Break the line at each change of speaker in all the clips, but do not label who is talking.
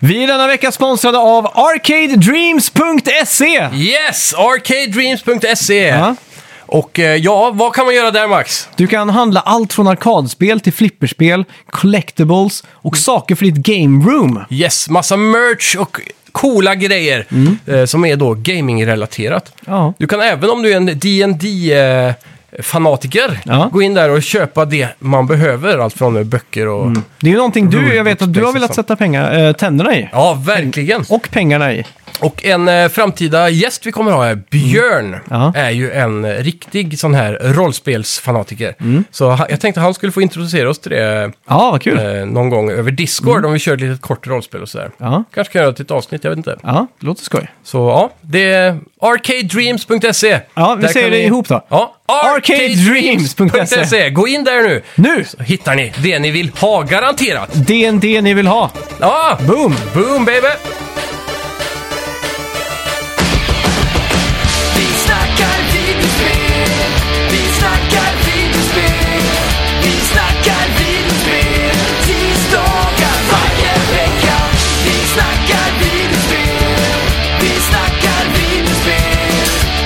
Vi är denna vecka sponsrade av ArcadeDreams.se!
Yes! Arcadedreams.se.
Ja.
Och eh, ja, vad kan man göra där Max?
Du kan handla allt från arkadspel till flipperspel, collectibles och saker för ditt game room.
Yes, massa merch och coola grejer eh, som är då gamingrelaterat.
Mm. Ja.
Du kan även om du är en dd eh, fanatiker
Ja.
gå in där och köpa det man behöver. Allt från eh, böcker och...
Det är ju någonting du, jag vet att du har velat sätta pengar, eh, tänderna i.
Ja, verkligen.
Och pengarna i.
Och en eh, framtida gäst vi kommer ha är Björn.
Mm. Ja.
Är ju en eh, riktig sån här rollspelsfanatiker.
Mm.
Så ha, jag tänkte han skulle få introducera oss till det
Ja, vad kul.
eh, någon gång över Discord om vi kör ett litet kort rollspel och sådär.
Mm. Ja,
Kanske kan göra ett litet avsnitt, jag vet inte.
ja det låter skoj.
Så ja, det är arcadedreams.se.
Ja, vi
Där
säger
kan
det
ni-
ihop då.
Ja,
arcadedreams.se.
arcadedreams.se. Gå in där nu.
Nu!
Så hittar ni det ni vill ha garanterat.
DND ni vill ha.
Ja,
Boom!
boom baby!
Vi snackar videospel, vi snackar videospel, vi snackar videospel, tisdagar varje vecka. Vi snackar videospel, vi snackar videospel,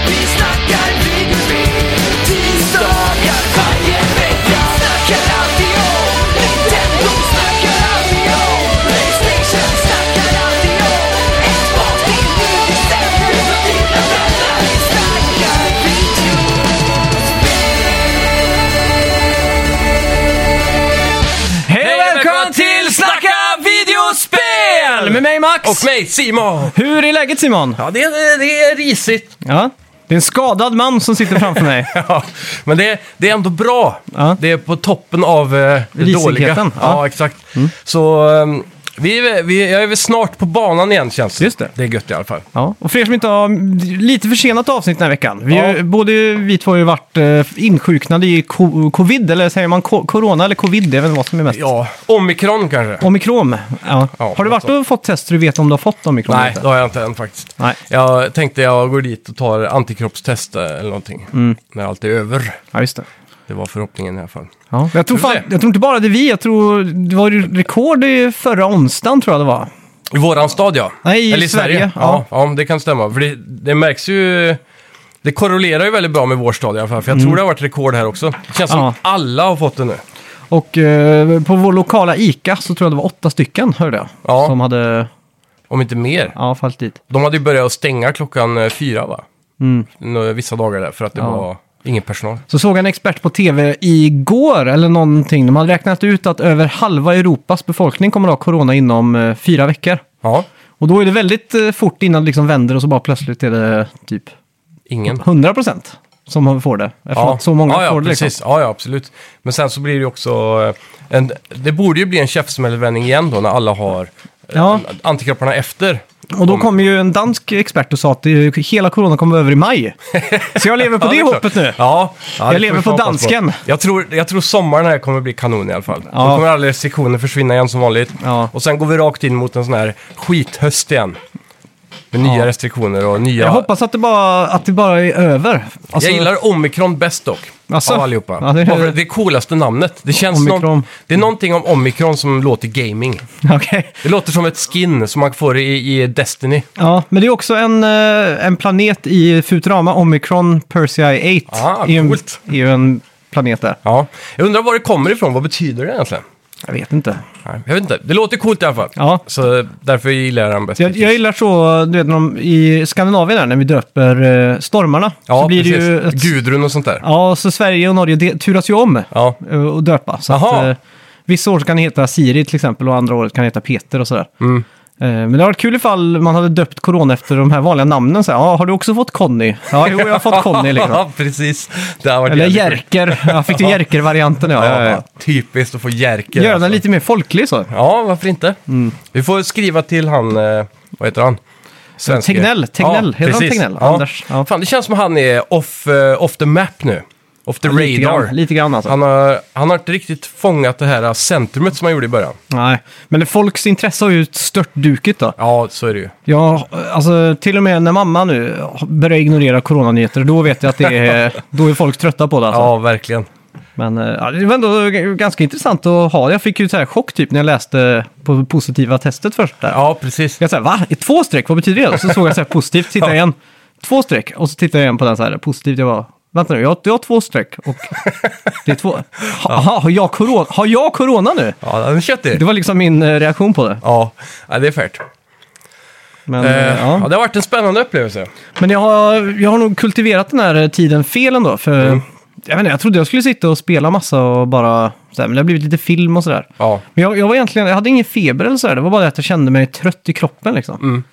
vi snackar videospel, tisdagar varje vecka. Snackar alltid om Nintendo, snackar alltid om Playstation, snackar alltid om Xbox, det är nu vi sänder för dina vänner. Vi snackar video.
Hej och välkommen till Snacka
videospel!
med mig Max!
Och mig, Simon!
Hur är läget Simon?
Ja, det, är- det är risigt.
Ja. Det är en skadad man som sitter framför mig.
Ja, men det, det är ändå bra.
Ja.
Det är på toppen av eh, det dåliga.
Risigheten, ja. Mm.
Ja, exakt. Så ehm, vi, är väl- vi, jag är väl snart på banan igen känns det.
Just det.
Det är gött i alla fall.
Ja, och för er som inte har lite försenat avsnitt den här veckan. Vi,
Ja.
ju- Både vi två har ju varit eh, insjuknade i co- covid, eller säger man co- corona eller covid? Jag vet inte vad som är mest.
Ja, omikron kanske?
Omikron. Ja.
Ja,
har du varit
alltså.
och fått test så du vet om du har fått omikron? eller
Nej,
inte?
det har jag inte än faktiskt.
Nej.
Jag tänkte jag går dit och tar antikroppstest eh, eller någonting.
Mm.
När allt är över.
Ja, just det.
Det var förhoppningen i alla fall.
Ja. Jag, tror
Vi får
fan,
se.
jag tror inte bara det är vi, jag tror det var ju rekord i förra onsdagen tror jag det var.
I våran stad ja.
Nej, i
Eller i Sverige.
Sverige,
Ja. Ja, det kan stämma. För det, det märks ju... Det korrelerar ju väldigt bra med vår stad i alla fall. För jag tror det har varit rekord här också. Det känns
Mm. Ja.
som alla har fått det nu.
Och eh, på vår lokala ICA så tror jag det var åtta stycken, hörde jag.
Ja.
Som hade
Om inte mer.
ja, fallit dit.
De hade ju börjat att stänga klockan eh, fyra va?
Mm.
Nå- Vissa dagar där för att det
Ja.
var ingen personal.
Så såg jag en expert på tv igår eller någonting. De hade räknat ut att över halva Europas befolkning kommer att ha corona inom eh, fyra veckor.
Ja,
Och då är det väldigt eh, fort innan det liksom vänder och så bara plötsligt är det typ
ingen.
100 procent som får det. Eftersom
Ja.
att så många
ja, ja,
får det. Liksom.
precis. Ja, ja, absolut. Men sen så blir det ju också... eh, En, det borde ju bli en käftsmällvändning igen då när alla har eh,
Ja.
antikropparna efter.
Och då kom ju en dansk expert och sa att eh, hela corona kommer över i maj. Så jag lever på det
är klart.
hoppet nu.
Ja, ja,
Jag
det
lever
får vi
på
fan hoppas
dansken.
Jag tror, jag tror sommaren här kommer bli kanon i alla fall.
Ja.
Då kommer alla restriktioner försvinna igen som vanligt.
Ja.
Och sen går vi rakt in mot en sån här skithöst igen. Med nya restriktioner och nya...
Jag hoppas att det bara, att det bara är över. Alltså,
jag gillar Omikron bäst dock.
Alltså?
Av allihopa.
Ja,
Ja,
det
det,
är-
är... det coolaste namnet. Det känns
Omikron.
någon- Det är någonting om Omikron som låter gaming.
Alltså, Okej.
Det låter som ett skin som man får i, i Destiny.
Ja, men det är också en, eh, en planet i Futurama, Omicron Persei 8.
Ah,
är ju en,
coolt.
är ju en planet där.
Ja. Jag undrar var det kommer ifrån. Vad betyder det egentligen?
Jag vet inte.
Nej, jag vet inte. Det låter coolt i alla fall.
Ja.
Så därför gillar jag den bäst.
Jag, jag gillar så, du vet, när de, i Skandinavien där, när vi döper eh, stormarna.
Ja,
så blir
precis.
det ju... Ett,
Gudrun och sånt där.
ja, så Sverige och Norge de, turas ju om
Ja.
eh, och döpa. Så att,
Jaha.
eh, vissa år kan det heta Siri till exempel och andra året kan det heta Peter och sådär.
Mm.
Eh, Men det hade varit kul ifall man hade döpt corona efter de här vanliga namnen. Så här, ah, har du också fått Conny? Ja, jo, jag har fått Conny. Liksom.
Ja, precis. Det har varit
Eller
jävligt kul.
Jerker. Jag fick du Jerker-varianten? Ja, ja, ja.
Typiskt att få Jerker. alltså.
Göra den lite Mm. mer folklig så.
Ja, varför inte? Vi får skriva till han, eh, vad heter han? Svenske.
Tegnell, Tegnell. Heter han
precis.
Tegnell?
Ja.
Anders, ja.
Fan, det känns som han är off, eh, off the map nu. Off the radar.
Lite grann, lite grann alltså.
Han, har, han har inte riktigt fångat det här eh, centrumet som han gjorde i början.
Nej, men folks intresse har ju stört duket då.
Ja, så är det ju.
Ja, alltså till och med när mamma nu börjar ignorera coronanyheter, då vet jag att det är, då är folk trötta på det alltså.
Ja, verkligen.
Men eh, ja, det var ändå g- ganska intressant att ha. Jag fick ju så här chock typ när jag läste på positiva testet först. Där.
Ja, precis.
Jag såhär, va? I två streck? Vad betyder det? Och så såg jag så här positivt, tittade jag igen. Två streck. Och så tittade jag igen på den så här positivt. Jag bara, vänta nu, jag, har- jag har två streck. Och det är två. Ha, aha, har, jag corona, har jag corona nu?
Ja, den är köttig.
Det var liksom min eh, reaktion på det.
Ja, ja, det är fairt.
Men,
Eh,
eh,
ja.
ja.
det har varit en spännande upplevelse.
Men jag har, jag har nog kultiverat den här eh, tiden fel ändå. För,
Mm.
jag, vet inte, jag trodde jag skulle sitta och spela massa och bara... Så här, men det har blivit lite film och sådär.
Ja.
Men jag, jag var egentligen, jag hade ingen feber eller sådär. Det var bara det att jag kände mig trött i kroppen liksom.
Mm.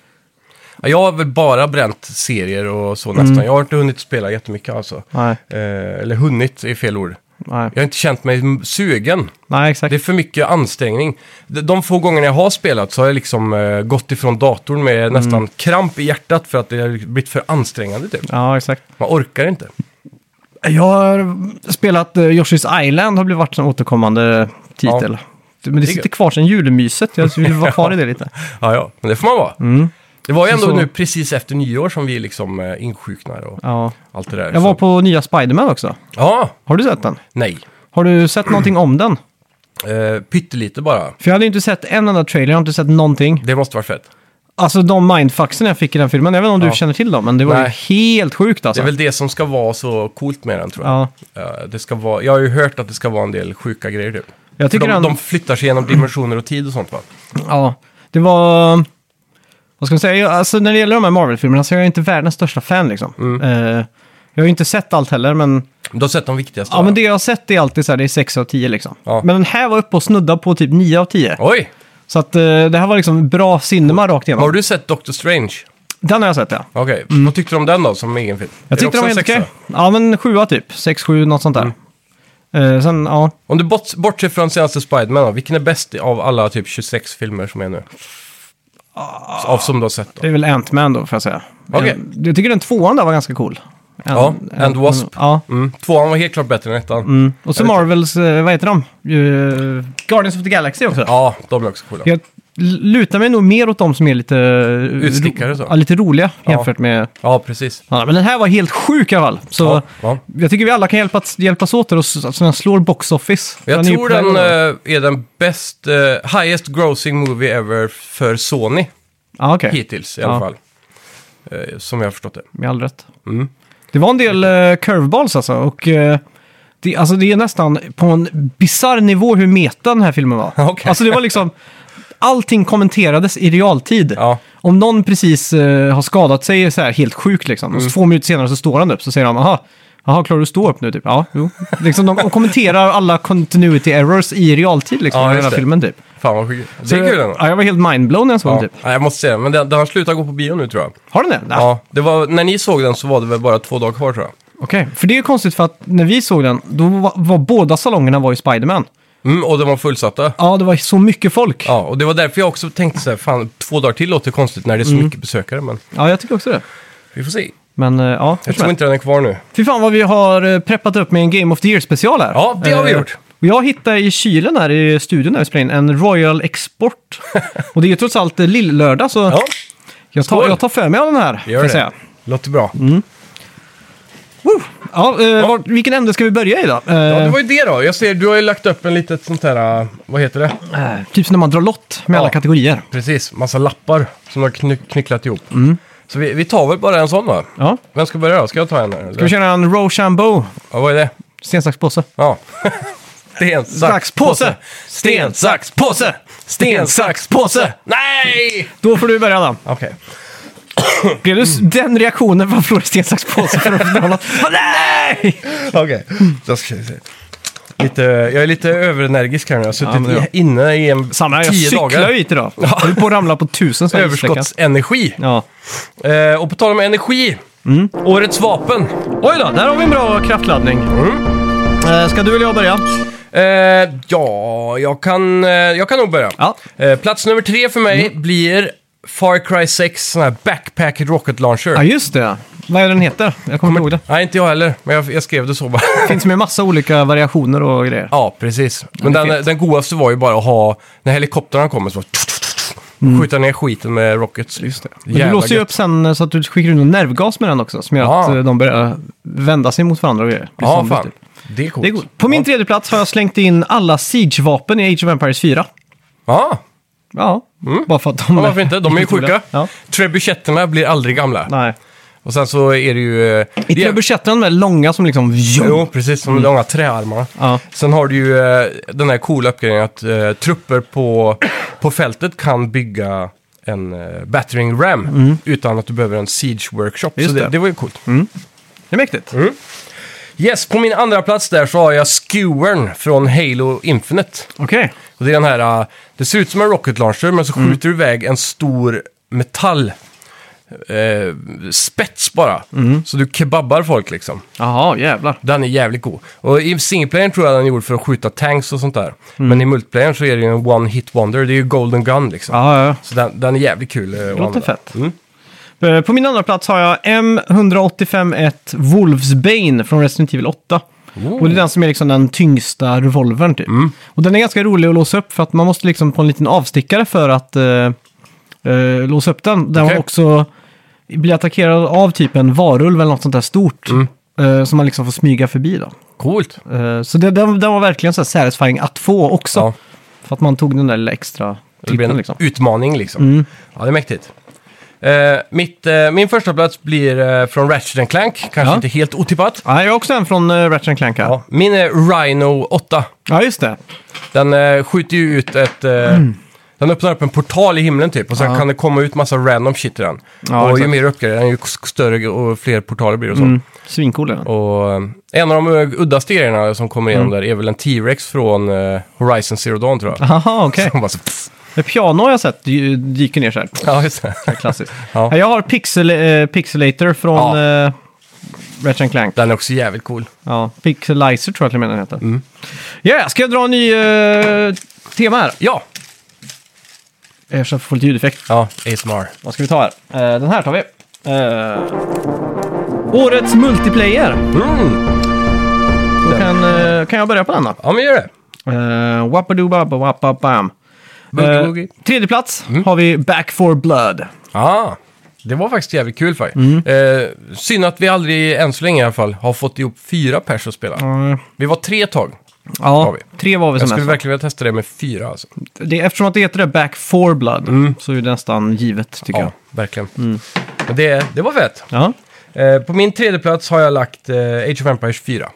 Ja, Jag har väl bara bränt serier och så nästan. Jag har inte hunnit spela jättemycket alltså.
Mm. Nej,
Eh, eller hunnit är fel ord.
nej.
Jag har inte känt mig m- sugen.
nej, exakt.
Det är för mycket ansträngning. De- De få gångerna jag har spelat så har jag liksom eh, gått ifrån datorn med
Mm.
nästan kramp i hjärtat för att det har blivit för ansträngande typ.
Ja, exakt.
Man orkar inte.
Jag har spelat eh, Yoshi's Island, har blivit varit en återkommande titel. Men det sitter kvar sedan julmyset, jag vill vara kvar i det lite.
Ja, ja, men det får man vara. Det var ju ändå
Mm. Så-
nu precis efter nyår som vi liksom eh, insjuknar och
Ja.
allt det där.
Jag var
Så-
på nya Spiderman också.
Ja,
Har du sett den?
nej.
Har du sett någonting om den?
Eh, pyttelite bara.
För jag hade ju inte sett en enda trailer, jag har inte sett någonting.
Det måste vara fett.
Alltså de mindfucksen jag fick i den filmen, jag vet inte om du
Ja.
känner till dem, men det var
Nej.
ju helt sjukt
Det
alltså.
är väl det som ska vara så coolt med den tror jag.
Ja.
Eh, det ska vara, jag har ju hört att det ska vara en del sjuka grejer typ.
Jag tycker
de,
den-
de flyttar sig genom dimensioner och tid och sånt va?
Ja, det var... Vad ska man säga? Jag- Alltså när det gäller de här Marvel-filmerna så är jag inte världens största fan liksom.
Mm.
Eh, jag har ju inte sett allt heller, men...
Du har sett de viktigaste
Ja,
va?
men det jag har sett är alltid så här, det är 6 av 10 liksom.
Ja.
Men den här var uppe och snudda på typ 9 av 10.
Oj!
Så att eh, det här var liksom bra cinema rakt igenom.
Har du sett Doctor Strange?
Den har jag sett ja.
Okej, vad tyckte du om den då som egen film? Är
Mm. Jag
det
tyckte den
också
var
en
helt okej.
sexa?
Ja, men 7 typ. 6-7, något sånt där.
Mm.
Eh, sen, ja.
Om du bort, bortser från senaste Spiderman då, vilken är bäst av alla typ 26 filmer som är nu? Av som du har sett då?
Det är väl Ant-Man då, får jag säga.
Okej.
Eh, Jag tycker den tvåan där var ganska cool.
Ja, and Wasp.
Ja.
Mm. Tvåan var helt klart bättre än ettan.
Och så
Jag vet
Marvels, eh, vad heter de? Eh, Guardians of the Galaxy också.
Ja, de är också coola.
Jag l- lutar mig nog mer åt de som är lite...
Utstickare så.
Ja, lite roliga jämfört med...
Ja, precis.
Ja, men den här var helt sjuk i alla fall. Så
Ja, ja.
jag tycker vi alla kan hjälpa, hjälpas åt där och s- så den slår box office.
Jag
är ju
tror
på väg
den
att-
eh, är den bäst, eh, highest grossing movie ever för Sony
Ja, okej.
hittills i alla
Ja.
fall. Eh, som jag har förstått det.
Med all rätt.
Mm.
Det var en del eh, curveballs alltså. Och, eh, det, alltså det är nästan på en bisarr nivå hur meta den här filmen var.
Okej.
Alltså det var liksom... Allting kommenterades i realtid.
Ja.
Om någon precis eh, har skadat sig så här helt sjukt liksom,
Mm.
och så två minuter senare så står han upp, så säger de aha, aha klarar du att stå upp nu typ? Ja, jo. liksom, de de kommenterar alla continuity errors i realtid liksom,
Ja,
i
just
hela
det.
filmen typ.
Fan vad sjukt. Det är
Så-
kul ändå.
ja, jag var helt mindblown när jag såg
Ja.
den typ.
Nej, jag måste säga det, men den, den har slutat gå på bio nu tror jag.
Har den det? Nej.
Ja, det var, när ni såg den så var det väl bara två dagar kvar tror jag.
Okej, för det är ju konstigt för att när vi såg den, då var, var båda salongerna var ju Spiderman.
Mm, och de var fullsatta.
Ja, det var så mycket folk. Ja,
Ja, och det var därför jag också tänkte så här, fan, två dagar till låter konstigt när det är så mycket besökare, men
jag tycker också det.
vi får se.
Men eh, ja, hur
Jag
som
tror
helst.
inte den är kvar nu.
Fy fan vad vi har eh, preppat upp med en Game of the Year-special här.
Ja, det har vi
Eh,
gjort.
och jag hittade i kylen här i studion där vi spelar in en Royal Export. och det är ju trots allt eh, lill-lördag så
Ja,
jag, tar,
skål.
jag tar för mig av den här. kan
gör
jag
det.
säga.
Låter bra.
Woo! Ja, eh, var- vilken ände ska vi börja i då? Eh,
Ja, det var ju det då. Jag ser, du har ju lagt upp en litet sånt här, äh, vad heter det?
eh, typ som när man drar lott med
Ja.
alla kategorier.
Precis, massa lappar som du har kny- knycklat ihop. Så vi, vi tar väl bara en sån va?
Mm. Ja.
Vem ska börja då? Ska jag ta en? Eller?
Ska vi köra en Rochambeau?
Ja, vad är det?
Sten, sax, påse.
Ja. Sten, sax, påse! Sten, sax, påse! Sten, sax, påse! Nej!
Då får du börja då.
Okej.
Blev du s-
Mm.
den reaktionen från Flora sten, sax, påse för att dra lott? Nej!
Okej, då ska vi se. Lite, jag är lite överenergisk här nu. Jag har
Ja, men
suttit
det är bra.
inne i en
Samma, här, jag
tio
cyklar
dagar.
ju hit idag. Jag höll på att ramla på tusen sådana här streck.
Överskottsenergi.
Ja.
Eh, och på tal om energi.
Mm.
Årets vapen.
Oj då, där har vi en bra kraftladdning.
Mm.
Eh, Ska du eller jag börja?
Eh, ja, jag kan, eh, jag kan nog börja.
Ja. Mm.
Eh, plats nummer tre för mig blir Far Cry 6 sån här backpack rocket launcher.
Ja, just det. Vad är den heter? Jag kommer inte ihåg det.
Nej, inte jag heller. Men jag, jag skrev det så bara.
Det finns med massa olika variationer och grejer.
ja, precis. Men
det är
den,
fint.
den godaste var ju bara att ha, när helikoptrarna kommer så bara,
Mm.
Skjuta ner skiten med rockets. liksom. Just det.
Men du låser ju upp sen eh, så att du skickar ut någon nervgas med den också. Som gör
Ja.
att eh, de börjar vända sig mot varandra och grejer. Blir
Ja,
zombies,
fan.
typ.
Det är coolt.
Det är coolt. På min
Ja.
tredje plats har jag slängt in alla Siege-vapen i Age of Empires 4.
Ja,
Ja, bara för att de...
Ja, varför inte? De är ju sjuka.
Ja.
Trebuchetterna blir aldrig gamla.
Nej.
Och sen så är det ju... eh,
I
det-
trebuchetterna, de där långa som liksom...
Jo, precis. Som långa träarmarna.
Mm. Ja.
Sen har du ju eh, den här coola uppgraderingen att eh, trupper på, på fältet kan bygga en eh, battering ram utan att du behöver en siege workshop.
Mm. Just
så det,
det. Mm.
det var ju coolt.
Det är mäktigt.
Mm. Yes, på min andra plats där så har jag skewern från Halo Infinite.
Okej.
Och det är den här, eh, det ser ut som en rocket launcher men så
Mm.
skjuter du iväg en stor metall eh, spets bara.
Mm.
Så du kebabbar folk liksom.
Jaha, jävlar.
Den är jävligt god. Och i singleplayern tror jag den är gjord för att skjuta tanks och sånt där.
Mm.
Men i multiplayern så är det ju en one hit wonder, det är ju golden gun liksom.
Ja, ja.
Så den, den är jävligt kul. Det
Låter fett.
Mm.
Eh, På min andra plats har jag M1851 Wolvesbane från Resident Evil 8.
Oh.
Och det är den som är liksom den tyngsta revolvern typ.
Mm.
Och den är ganska rolig att låsa upp för att man måste liksom på en liten avstickare för att eh, eh, låsa upp den. Där
Okej.
man också blir attackerad av typ en varulv eller något sånt där stort.
Mm.
eh, Som man liksom får smyga förbi då.
Coolt.
Eh, Så det, den, den var verkligen så här satisfying att få också.
Ja.
För att man tog den där lilla extra
Det blir
tippen
en
liksom. Mm.
utmaning liksom. Ja, det är mäktigt. Eh, mitt, eh, min första plats blir eh, från Ratchet Clank, kanske
Ja.
inte helt otippat.
Ja, jag har också en från uh, Ratchet Clank här. Ja.
Ja. Min är Rhino 8.
just det.
Den eh, skjuter ju ut ett... Eh, Den öppnar upp en portal i himlen typ och sen
Mm. Ja.
kan det komma ut massa random shit i den.
Ja,
och ju
exakt.
mer uppgraderad ju större och fler portaler blir det och så.
Mm. Svincool är den.
Och eh, en av de eh, uddaste grejerna som kommer igenom där är väl en T-Rex från eh, Horizon Zero Dawn tror jag.
Jaha, okej.
Som bara så, pff.
Med Piano har jag sett dy- dyker ner så här.
ja, just det.
Klassiskt.
Ja.
Jag har pixel, eh, Pixelator från
Ja.
eh, Ratchet Clank.
Den är också jävligt cool.
Ja, Pixelizer tror jag till och med den heter. Ja,
Mm.
ska jag dra en ny eh, tema här?
Ja,
Jag ska få lite ljudeffekt.
ja ASMR.
Vad ska vi ta här? Eh, den här tar vi. Eh, årets multiplayer.
Mm.
Då kan, eh, kan jag börja på den då.
Ja, men gör det.
Uh, Wappadubaba, wappabam.
Boogie Woogie.
Eh, tredje plats
Mm.
har vi Back for Blood.
Ja, det var faktiskt jävligt kul faktiskt. Eh, synd att vi aldrig, än så länge i alla fall, har fått ihop fyra pers att spela. Vi var tre ett tag.
Ja,
Har vi.
tre var vi
Jag
som
skulle
mest.
verkligen vilja testa det med fyra alltså.
det, eftersom att det heter det Back for Blood så är det nästan givet tycker
Mm. Ja, Mm. verkligen. Men det, det var fett.
jag. Ja,
Eh, på min tredje plats har jag lagt eh, Age of Empires 4.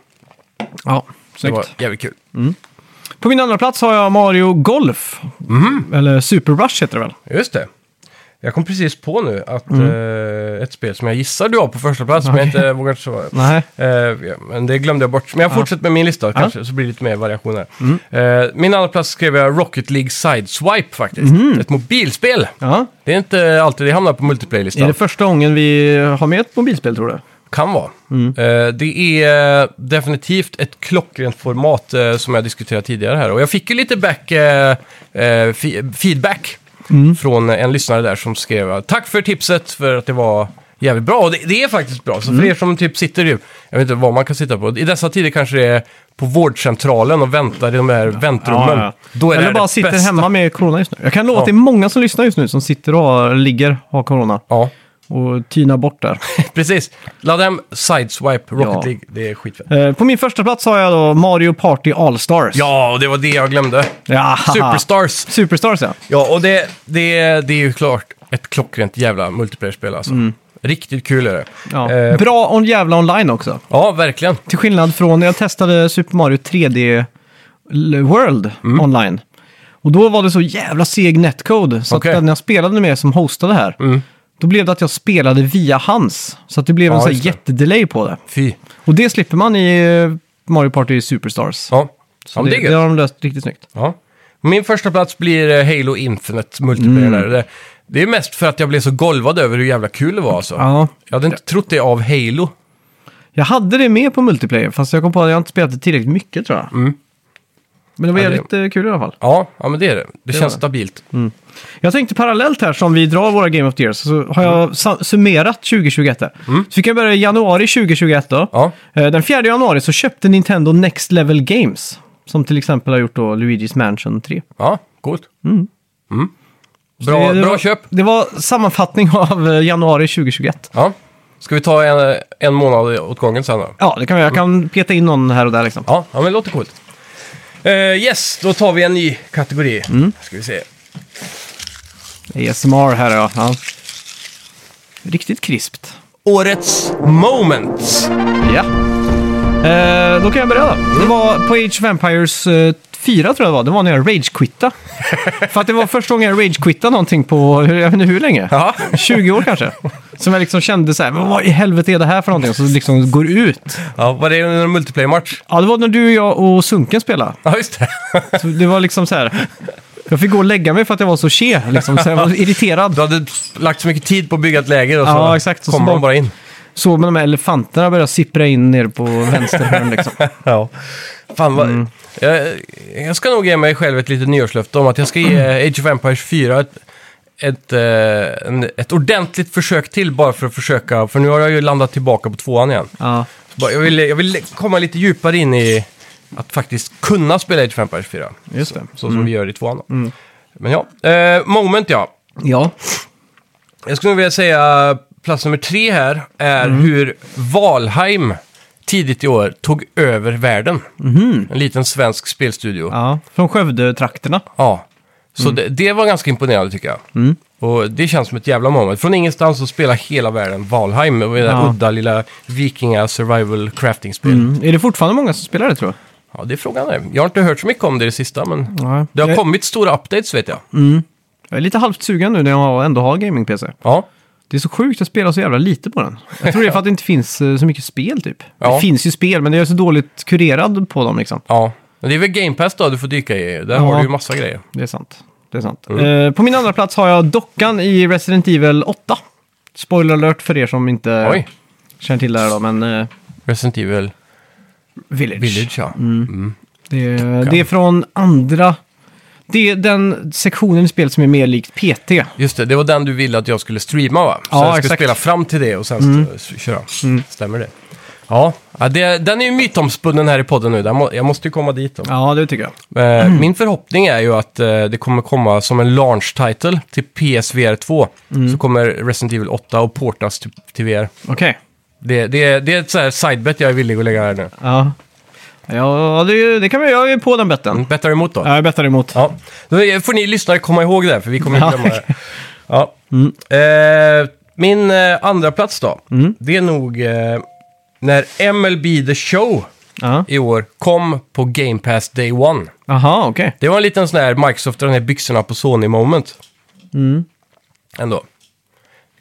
ja
Det
snyggt.
var jävligt kul.
På min andra plats har jag Mario Golf.
Mm.
Eller Super Rush heter det väl?
Just det. Jag kom precis på nu att
Mm.
eh, ett spel som jag gissar du har på första plats, men jag
Okej.
inte vågar svara.
Nej.
Eh, ja, men det glömde jag bort. Men jag fortsätter med min lista kanske, så blir det lite mer variation här.
Mm.
Eh, min andra plats skrev jag Rocket League Sideswipe faktiskt. Ett mobilspel.
Mm. Ja.
Det är inte alltid det hamnar på
Är
multiplayer-listan.
det första gången vi har med ett mobilspel tror du?
Kan vara.
Mm.
Eh, det är eh, definitivt ett klockrent format eh, som jag diskuterat tidigare här. Och jag fick ju lite back, eh, eh, fi- feedback
Mm.
från en lyssnare där som skrev tack för tipset för att det var jävligt bra. Och det, det är faktiskt bra. Så
Mm.
för er som typ sitter ju, jag vet inte vad man kan sitta på. I dessa tider kanske det är på vårdcentralen och väntar i de här väntrummen. Då är
Eller
det
bara
det
sitter
bästa.
hemma med corona just nu. Jag kan lova
Ja.
att det är många som lyssnar just nu som sitter och har, ligger, har corona
Ja,
och tynar bort där.
precis. Ladda hem Sideswipe Rocket
Ja.
League. Det är skitfett.
Eh, På min första plats har jag då Mario Party All-Stars.
Ja, och det var det jag glömde.
Ja, haha.
Superstars.
Superstars ja.
Ja, och det, det, det är ju klart ett klockrent jävla multiplayer-spel alltså. Riktigt kul är det.
Mm. ja.
Eh,
Bra och jävla online också.
ja, verkligen.
Till skillnad från när jag testade Super Mario 3D L- World
Mm.
online. Och då var det så jävla seg netcode. Så
Okej. Mm.
att när jag spelade med som hostade här, då blev det att jag spelade via hans. Så att det blev
Ja,
en sån
just
här
det.
jättedelay på det.
Fy.
Och det slipper man i eh, Mario Party Superstars.
Ja,
Så
ja men
det,
det är
det,
gött.
har de löst riktigt snyggt.
Ja. Min första plats blir eh, Halo Infinite multiplayer.
Mm.
där. Det, det är mest för att jag blev så golvad över hur jävla kul det var alltså.
Ja.
Jag hade inte trott det av Halo.
Jag hade det med på multiplayer, fast jag kom på att jag inte spelat det tillräckligt mycket tror jag. Men det var
Mm. Ja, det-
jävligt eh, kul i alla fall.
Ja, ja men det är det. Det,
var
känns
det. Mm.
stabilt.
Jag tänkte parallellt här som vi drar våra Game of the Year så har jag
Mm.
sa- summerat 2021. här. Så vi kan börja i januari 2021 då.
Ja.
Eh, Den 4 januari så köpte Nintendo Next Level Games. Som till exempel har gjort då Luigi's Mansion 3.
Ja, coolt. Mm. Bra,
Mm. det, det
bra
var,
köp.
Det var sammanfattning av eh, januari 2021.
Ja. Ska vi ta en, en månad åt gången sen då?
Ja, det kan jag. Jag kan peta in någon här och där liksom.
Ja, ja men det låter coolt. Eh, yes, då tar vi en ny kategori.
Mm.
Ska vi se.
ASMR här ja. ja. Riktigt krispt.
Årets moments.
Ja. Eh, då kan jag börja då. Det var på Age of Empires eh, 4 tror jag det var. Det var när jag rage-quittade. För att det var första gången jag rage-quittade någonting på, hur- jag vet inte hur länge.
Ja.
20 år kanske. Som jag liksom kände så här, "Men vad i helvete är det här för någonting? Och så liksom går ut.
Ja, var det under en multiplayer-match?
Ja, det var när du, jag och Sunken spelade.
Ja, just det.
Så det var liksom så här, jag fick gå och lägga mig för att jag var så che. Liksom. Så jag var irriterad.
Du hade lagt så mycket tid på att bygga ett läger och så
Ja, exakt. Så
kommer
smart.
de bara in.
Såg man de här elefanterna börja sippra in ner på vänster hörn liksom.
Ja. Fan, vad...
Mm.
jag, jag ska nog ge mig själv ett litet nyårslöfte om att jag ska ge Age of Empires 4 ett, ett, eh, en, ett ordentligt försök till bara för att försöka, för nu har jag ju landat tillbaka på tvåan igen.
Ja.
Bara, Jag vill, jag vill komma lite djupare in i att faktiskt kunna spela Age of Empires 4.
Just Mm. det.
Så som vi gör i tvåan då. Men ja, eh, moment ja.
Ja.
Jag skulle vilja säga plats nummer tre här är
Mm.
hur Valheim tidigt i år tog över världen. En liten svensk spelstudio. Ja.
Mm-hmm. ja. Mm. Från Skövde-trakterna.
Så det, det var ganska imponerande tycker jag.
Mm.
Och det känns som ett jävla moment. Från ingenstans så spelar hela världen Valheim med det där
Ja.
udda lilla vikinga survival crafting-spel.
Mm. Är det fortfarande många som spelar det tror
Ja, det är frågan är. Jag har inte hört så mycket om det i det sista, men
jag? Nej. Mm.
det har
jag,
kommit stora updates vet jag.
jag är lite halvt sugen nu när jag ändå har gaming-PC.
Ja.
Det är så sjukt att spela så jävla lite på den. Jag tror det är för att det inte finns eh, så mycket spel typ.
Ja.
Det finns ju spel, men det är så dåligt kurerad på dem liksom.
ja. Men det är väl Game Pass då du får dyka i. Där
Ja.
har du ju massa grejer.
Det är sant. Det är sant.
Mm.
Eh, på min andra plats har jag dockan i Resident Evil 8. Spoiler alert för er som inte
Oj,
känner till det här då, men... eh,
Resident Evil
Village.
Village ja.
Mm. Det, är- det är från andra... Det är den sektionen i spelet som är mer likt PT.
Just det, det var den du ville att jag skulle streama va? Så
Ja,
jag skulle
exakt. Mm.
spela fram till det och sen st- köra. Stämmer det? Ja, ja det, den är ju mytomspunnen här i podden nu. Den må, jag måste ju komma dit då.
Ja, det tycker jag.
Eh,
Mm.
Min förhoppning är ju att eh, det kommer komma som en launch title till PSVR 2.
Mm.
Så kommer Resident Evil 8 och portas till, till VR.
Okej.
Det, det, det är ett så här sidebet jag är villig att lägga här nu.
Ja, ja det, är ju- det kan vi göra. Jag är på den betten.
Bettar du emot då?
Ja, jag bettar emot.
Ja, då är- får ni lyssnare komma ihåg det, här, för vi kommer
Ja.
inte glömma det. Ja. Eh, min eh, andra plats då,
Mm.
det är nog eh, när MLB The Show
Ja.
i år kom på Game Pass Day One.
Aha, okej.
Det var en liten sån här Microsoft drar ner byxorna på Sony-moment.
Mm.
Ändå.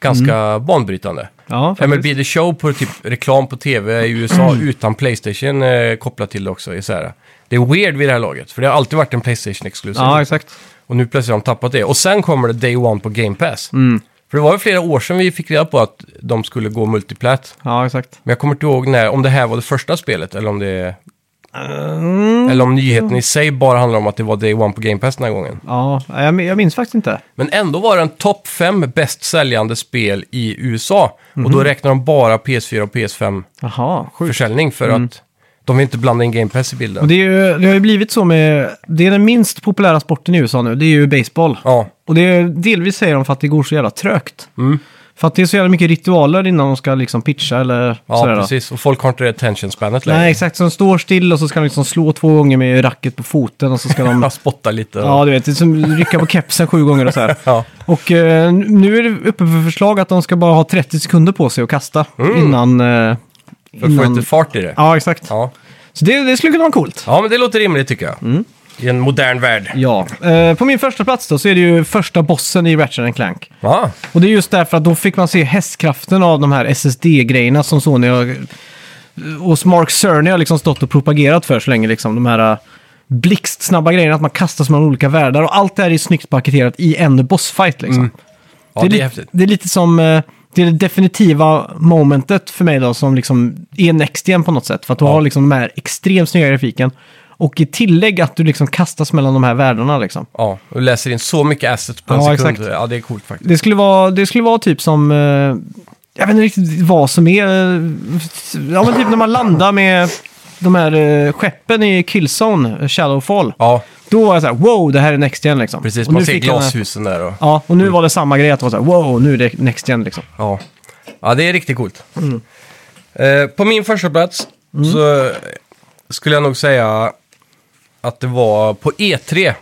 Ganska banbrytande.
Ja, faktiskt. Mm.
MLB The Show på typ reklam på tv i USA utan Playstation eh, kopplat till det också. i Så här. Det är weird vid det här laget, för det har alltid varit en Playstation-exklusiv.
Ja, exakt.
Och nu plötsligt har de tappat det. Och sen kommer det Day One på Game Pass.
Mm.
För det var ju flera år sedan vi fick reda på att de skulle gå multiplat.
Ja, exakt.
Men jag kommer inte ihåg när, om det här var det första spelet eller om det...
Mm.
Eller om nyheten i sig bara handlar om att det var Day One på Game Pass den här gången.
Ja, jag, min- jag minns faktiskt inte.
Men ändå var den topp fem bäst säljande spel i USA. Och
Mm.
då räknar de bara PS4 och PS5-försäljning
Jaha, sjukt. Mm.
för att de vill inte blanda in Game Pass i bilden.
Och det, är ju, det har ju blivit så med... Det är den minst populära sporten i USA nu. Det är ju baseball.
Ja,
Och det är, delvis säger de för att det går så jävla trögt.
Mm.
För att det är så jävla mycket ritualer innan de ska liksom pitcha eller
ja
sådär. då.
precis. Och folk har inte det attention spanet längre.
Nej, exakt. Så de står still och så ska de liksom slå två gånger med racket på foten och så ska de...
Man spottar lite. och-
ja, du vet. det är Som rycka på kepsen sju gånger och så här.
Ja.
Och eh, nu är det uppe för förslag att de ska bara ha 30 sekunder på sig att kasta
Mm.
innan... Eh,
För att få
innan...
lite fart i det.
Ja, exakt.
Ja.
Så det, det skulle kunna vara coolt.
ja, men det låter rimligt tycker jag. I en modern värld.
Mm. Ja. Eh, på min första plats då så är det ju första bossen i Ratchet Clank.
Ja,
Och det är just därför att då fick man se hästkraften av de här SSD-grejerna som Sony har, eh, och Mark Cerny har liksom stått och propagerat för så länge. Liksom, de här äh, blixtsnabba grejerna, att man kastas mellan olika världar och allt det här är snyggt paketerat i en bossfight. Liksom.
Mm. ja det, är
li-
häftigt.
det är lite som... eh, Det är det definitiva momentet för mig då som liksom är next igen på något sätt. För att du har liksom de här extremt snygga grafiken. Och i tillägg att du liksom kastas mellan de här världarna liksom.
Ja, och läser in så mycket assets på en
Ja,
sekund.
exakt.
Ja, det är coolt faktiskt.
Det skulle vara, det skulle vara typ som... eh, jag vet inte riktigt vad som är... eh, ja, men typ när man landar med de här eh, skeppen i Killzone, eh, Shadowfall.
Ja,
Då var jag så här, wow, det här är Next Gen liksom.
Precis,
Och
man
nu
ser
fick jag den här-
glashusen där och...
Ja, och nu var det samma grej att det var så här, wow, nu är det Next Gen liksom.
Ja, ja det är riktigt coolt. Eh, på min första plats så skulle jag nog säga att det var på E3.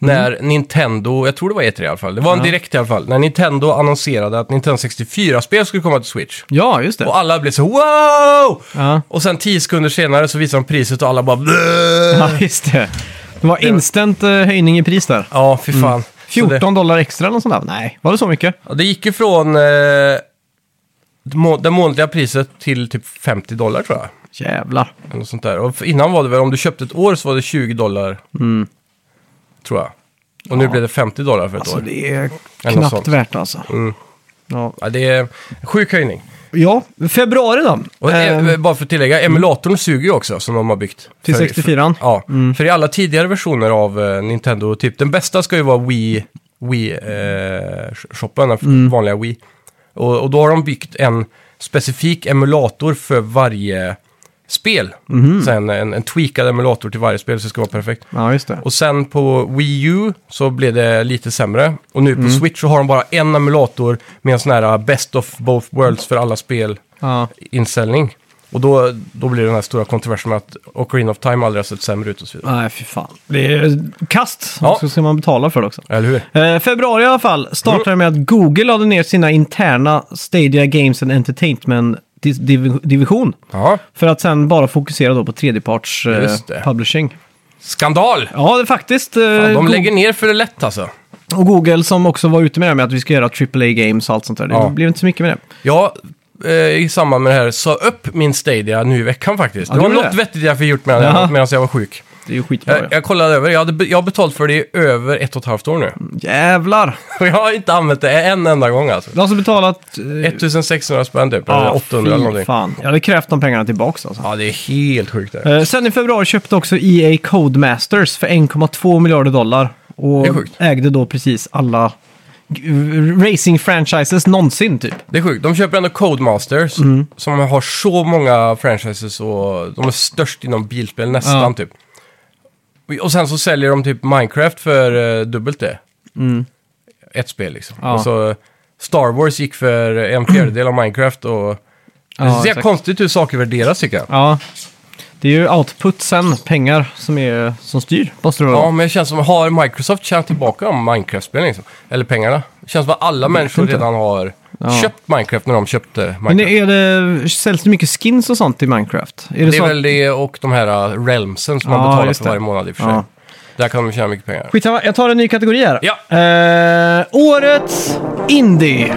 När Nintendo, jag tror det var E3 i alla fall, det var en
Mm. Ja.
direkt i alla fall, när Nintendo annonserade att Nintendo 64-spel skulle komma till Switch.
Ja, just det.
Och alla blev så wow!
Ja.
Och sen tio sekunder senare så visade de priset och alla bara
ja, just det. Det var instant eh, höjning i pris där.
Ja, fy
Mm.
fan. Så det-
14 dollar extra eller något sånt där. Nej, var det så mycket?
Ja, det gick ju från eh, må- det månadliga priset till typ 50 dollar tror jag.
Jävlar.
Eller något sånt där. Och f- innan var det väl, om du köpte ett år så var det 20 dollar.
Mm.
Tror jag. Och nu blev det 50 dollar för ett
Alltså
år.
det är
något
knappt
sånt. Mm.
värt alltså. Ja.
Ja, det är en sjuk höjning.
ja, februari då.
Och
Ehm,
eh, bara för att tillägga, emulatorn suger ju också som de har byggt.
Till Mm.
För-
64?
För, ja, för i alla tidigare versioner av eh, Nintendo, typ den bästa ska ju vara Wii, eh, Wii-shoppen,
Mm.
vanliga Wii. Och, och då har de byggt en specifik emulator för varje spel.
Mhm.
Så en, en, en tweakad emulator till varje spel så det ska vara perfekt.
ja, just det.
Och sen på Wii U så blev det lite sämre. Och nu på
Mm.
Switch så har de bara en emulator med en sån här uh, best of both worlds för alla spel
Ja.
inställning. Och då, då blir det den här stora kontroversen med att Ocarina of Time aldrig har sett sämre ut och så vidare.
Nej, fy fan. Det är kast.
Ja.
Och Så ska man betala för det också.
Eller hur?
Eh, februari i alla fall startade
Mm.
med att Google lade ner sina interna Stadia Games and Entertainment dis- div- division.
Ja.
För att sen bara fokusera då på tredjeparts eh,
Just det.
publishing.
Skandal!
Ja, det är faktiskt. Eh,
De
Go-
lägger ner för det lätt alltså.
Och Google som också var ute med det här med att vi ska göra AAA-games och allt sånt där.
Ja.
Det blev inte så mycket med det.
Jag, eh, i samband med det här, sa upp min Stadia nu i veckan faktiskt.
Ja,
det
du
var
gjorde
något
det?
vettigt jag fick gjort med den
Jaha.
medan jag var sjuk.
Det är ju skitbra.
Jag,
ja.
jag kollade över, jag, hade, be- jag har betalt för det i över ett och ett halvt år nu.
Jävlar!
Och jag har inte använt det en enda gång alltså.
Du har alltså betalat... eh,
1600 spänn typ, eller 800 eller
Ah, fy
någonting.
fan. Jag hade krävt de pengarna tillbaks alltså.
Ja, det är helt sjukt det här.
Eh, sen i februari köpte också EA Codemasters för 1,2 miljarder dollar. Och
Det är sjukt.
ägde då precis alla g- racing-franchises någonsin typ.
Det är sjukt. De köper ändå Codemasters
Mm.
som har så många franchises och de är störst inom bilspel nästan
Ja.
typ. Och sen så säljer de typ Minecraft för eh, dubbelt det. Ett spel liksom.
Mm. Ja.
Och så eh, Star Wars gick för en fjärdedel av Minecraft och... det är
exakt.
konstigt hur saker värderas tycker jag. Ja.
Ja. Det är ju output sen, pengar, som, är, som styr. Måste det vara.
men det känns som, har Microsoft tjänat tillbaka om Minecraft-spelen liksom? Eller pengarna? Det känns som att alla människor
inte.
redan har
Ja.
köpt Minecraft när de köpte Minecraft.
Men är det, säljs det mycket skins och sånt i Minecraft? Är det,
Det
så
är
att-
väl det och de här uh, realmsen som
Ja,
man betalar
just
för
det.
varje månad i och för sig.
Ja.
Där kan de tjäna mycket pengar.
Skitsamma, jag tar en ny kategori här.
Ja.
Eh, årets Indie.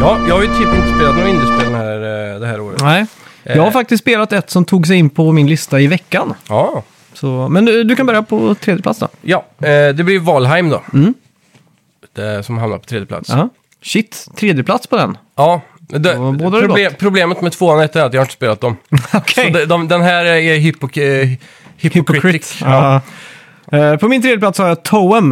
Ja, jag har ju typ inte spelat några indiespel den här, eh, det här året.
Nej. Jag har
Eh.
faktiskt spelat ett som tog sig in på min lista i veckan.
Ja,
Så, men du, du kan börja på tredje plats då.
ja eh, det blir Valheim då. Det, som hamnar på tredje plats.
Mm. Ja. Shit, tredje plats på den.
Ja, det,
Och båda är
proble- problemet med tvåan och ettan är att jag har inte spelat dem.
Okej.
Så de, de, den här är hypok eh, hypokritik.
Ja. Eh, på min tredje plats har jag Toem.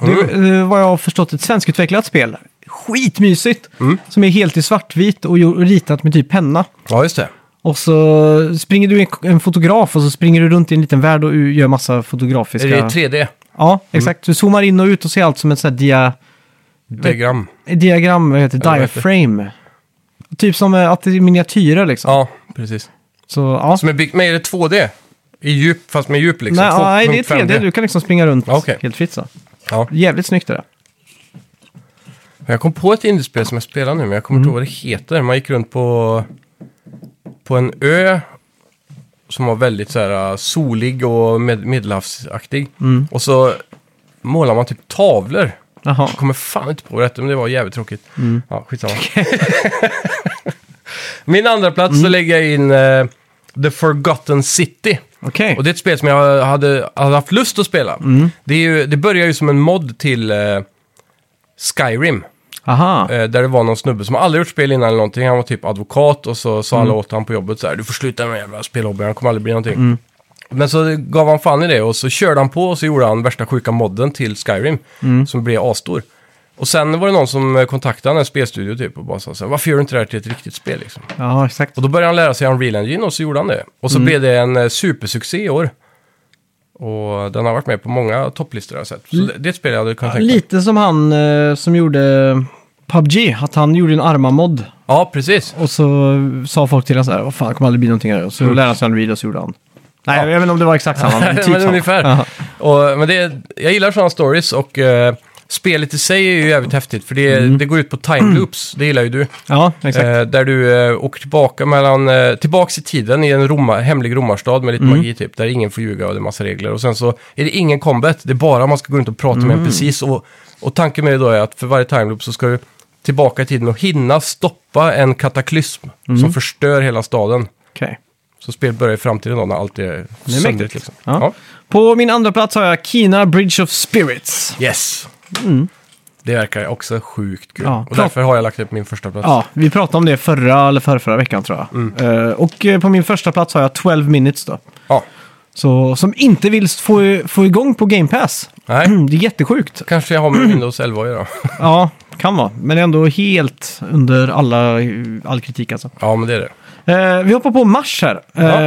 Det är
Mm.
eh, vad jag har förstått ett svenskutvecklat spel. Skitmysigt!
Mm.
Som är helt i svartvitt och gjort- ritat med typ penna.
Ja, just det.
Och så springer du en- en fotograf och så springer du runt i en liten värld och gör massa fotografiska...
Är det 3D?
Ja, exakt. Du zoomar in och ut och ser allt som ett sånt här dia,
Diagram?
diagram, vad heter
vad
det?
heter det?
Diaframe. Typ som eh, att det är miniatyrer liksom.
Ja, precis.
Så, ja.
Som är byggt, men är det 2D? I djup, fast med djup liksom?
Nej, ja, nej, det är
2.5D.
3D. Du kan liksom springa runt
Ja, okej.
helt fritt så.
Ja.
Jävligt snyggt är det.
Jag kom på ett indiespel som jag spelar nu, men jag kommer inte ihåg vad det heter. Man gick runt på, på en ö som var väldigt så här, äh, solig och med, medelhavsaktig. Och så målar man typ tavlor.
Jaha.
Jag kommer fan inte på vad det hette, men det var jävligt tråkigt. Ja, skitsamma. Min andra plats så lägger jag in eh, The Forgotten City.
Okej.
Och det är ett spel som jag hade, hade haft lust att spela. Det, är ju, det börjar ju som en mod till eh, Skyrim.
Aha.
Eh, där det var någon snubbe som aldrig gjort spel innan eller någonting. Han var typ advokat och så sa alla åt honom på jobbet så här, du får sluta med den jävla spelhobbyn, han kommer aldrig bli någonting. Men så gav han fan i det och så körde han på och så gjorde han värsta sjuka modden till Skyrim. Som blev asstor. Och sen var det någon som eh, kontaktade en spelstudio typ och bara sa så här, varför gör du inte det här till ett riktigt spel liksom?
Ja, exakt. Mm.
Och då började han lära sig Unreal Engine och så gjorde han det. Och så blev det en eh, supersuccé i år. Och den har varit med på många topplistor jag har sett. Så det- det är ett spel jag hade kunnat tänka mig.
Lite som han eh, som gjorde PubG, att han gjorde en arma-mod.
Ja, precis.
Och så eh, sa folk till honom så här, vad fan, det kommer aldrig bli någonting här. Och
Mm.
så lärde han sig en video och så gjorde han. Nej, jag vet inte om det var exakt samma, men typ
men
samma.
ungefär.
Ja.
Och, men det, jag gillar sådana stories och eh, spelet i sig är ju jävligt häftigt. För det,
Mm.
det går ut på time loops, det gillar ju du.
Ja, exakt.
Eh, där du eh, åker tillbaka mellan, eh, tillbaks i tiden i en Roma, hemlig romarstad med
Mm.
lite magi typ, där ingen får ljuga och det är massa regler. Och sen så är det ingen combat, det är bara man ska gå runt och prata
Mm.
med en precis. Och, och tanken med det då är att för varje timeloop så ska du tillbaka i tiden och hinna stoppa en kataklysm
Mm.
som förstör hela staden.
Okej.
Så spelet börjar i framtiden då när allt är,
är
söndrigt
mäktigt.
liksom.
Ja. På min andra plats har jag Kina Bridge of Spirits.
Ja. Yes! Det verkar också sjukt kul.
Mm. Ja,
Och
klart.
därför har jag lagt upp min första plats.
Ja, vi pratade om det förra eller förra, förra veckan tror jag. Eh, och eh, på min första plats har jag 12 minutes då.
Ja.
Så, som inte vill få, få igång på Game Pass.
Nej,
Det är jättesjukt.
kanske jag har med Windows 11 att göra.
Ja, kan vara. Men ändå helt under alla, all kritik alltså.
Ja, men det är det.
Eh, vi hoppar på Mars här.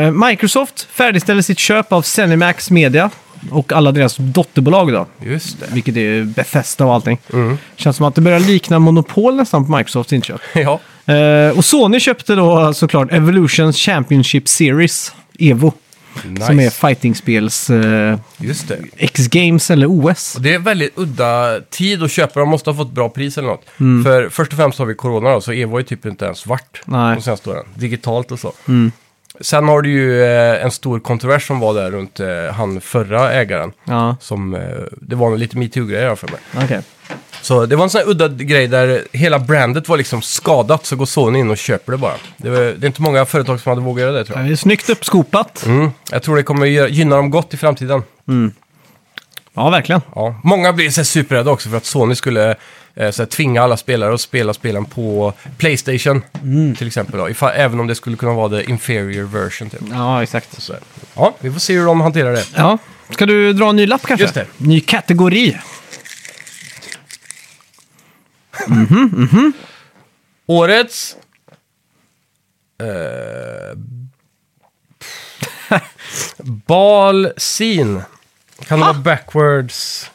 Eh, Microsoft färdigställer sitt köp av Zenimax Media och alla deras dotterbolag då.
Just det.
Vilket är Bethesda och allting.
Mm.
Känns som att det börjar likna monopol nästan på Microsofts inköp.
Ja,
Eh, och Sony köpte då såklart Evolutions Championship Series, EVO.
nice.
Som är fightingspels eh,
Just det.
X-Games eller OS.
Och Det är väldigt udda tid att köpa. De måste ha fått bra pris eller något.
Mm.
För först och främst har vi corona då, så Evo är typ inte ens vart
Nej. Mm.
de senaste åren. Digitalt och så. Sen har du ju eh, en stor kontrovers som var där runt eh, han förra ägaren.
Ja,
Som, eh, det var nog lite metoo-grejer här för mig.
okej.
Så det var en sån här udda grej där hela brandet var liksom skadat så går Sony in och köper det bara. Det, var, det är inte många företag som hade vågat göra det tror jag.
Det är Snyggt uppskopat.
Mm. Jag tror det kommer gö- gynna dem gott i framtiden.
Ja, verkligen.
Ja. Många blev så här superrädda också för att Sony skulle eh, så här, tvinga alla spelare att spela spelen på Playstation.
Mm.
Till exempel då. Ifa, även om det skulle kunna vara the inferior version. Typ.
Ja, exakt.
Så här. Ja, vi får se hur de hanterar det.
Ja. Ska du dra en ny lapp kanske?
Just det.
Ny kategori.
Årets... Eh, bal scene. Kan
Ah!
det vara backwards?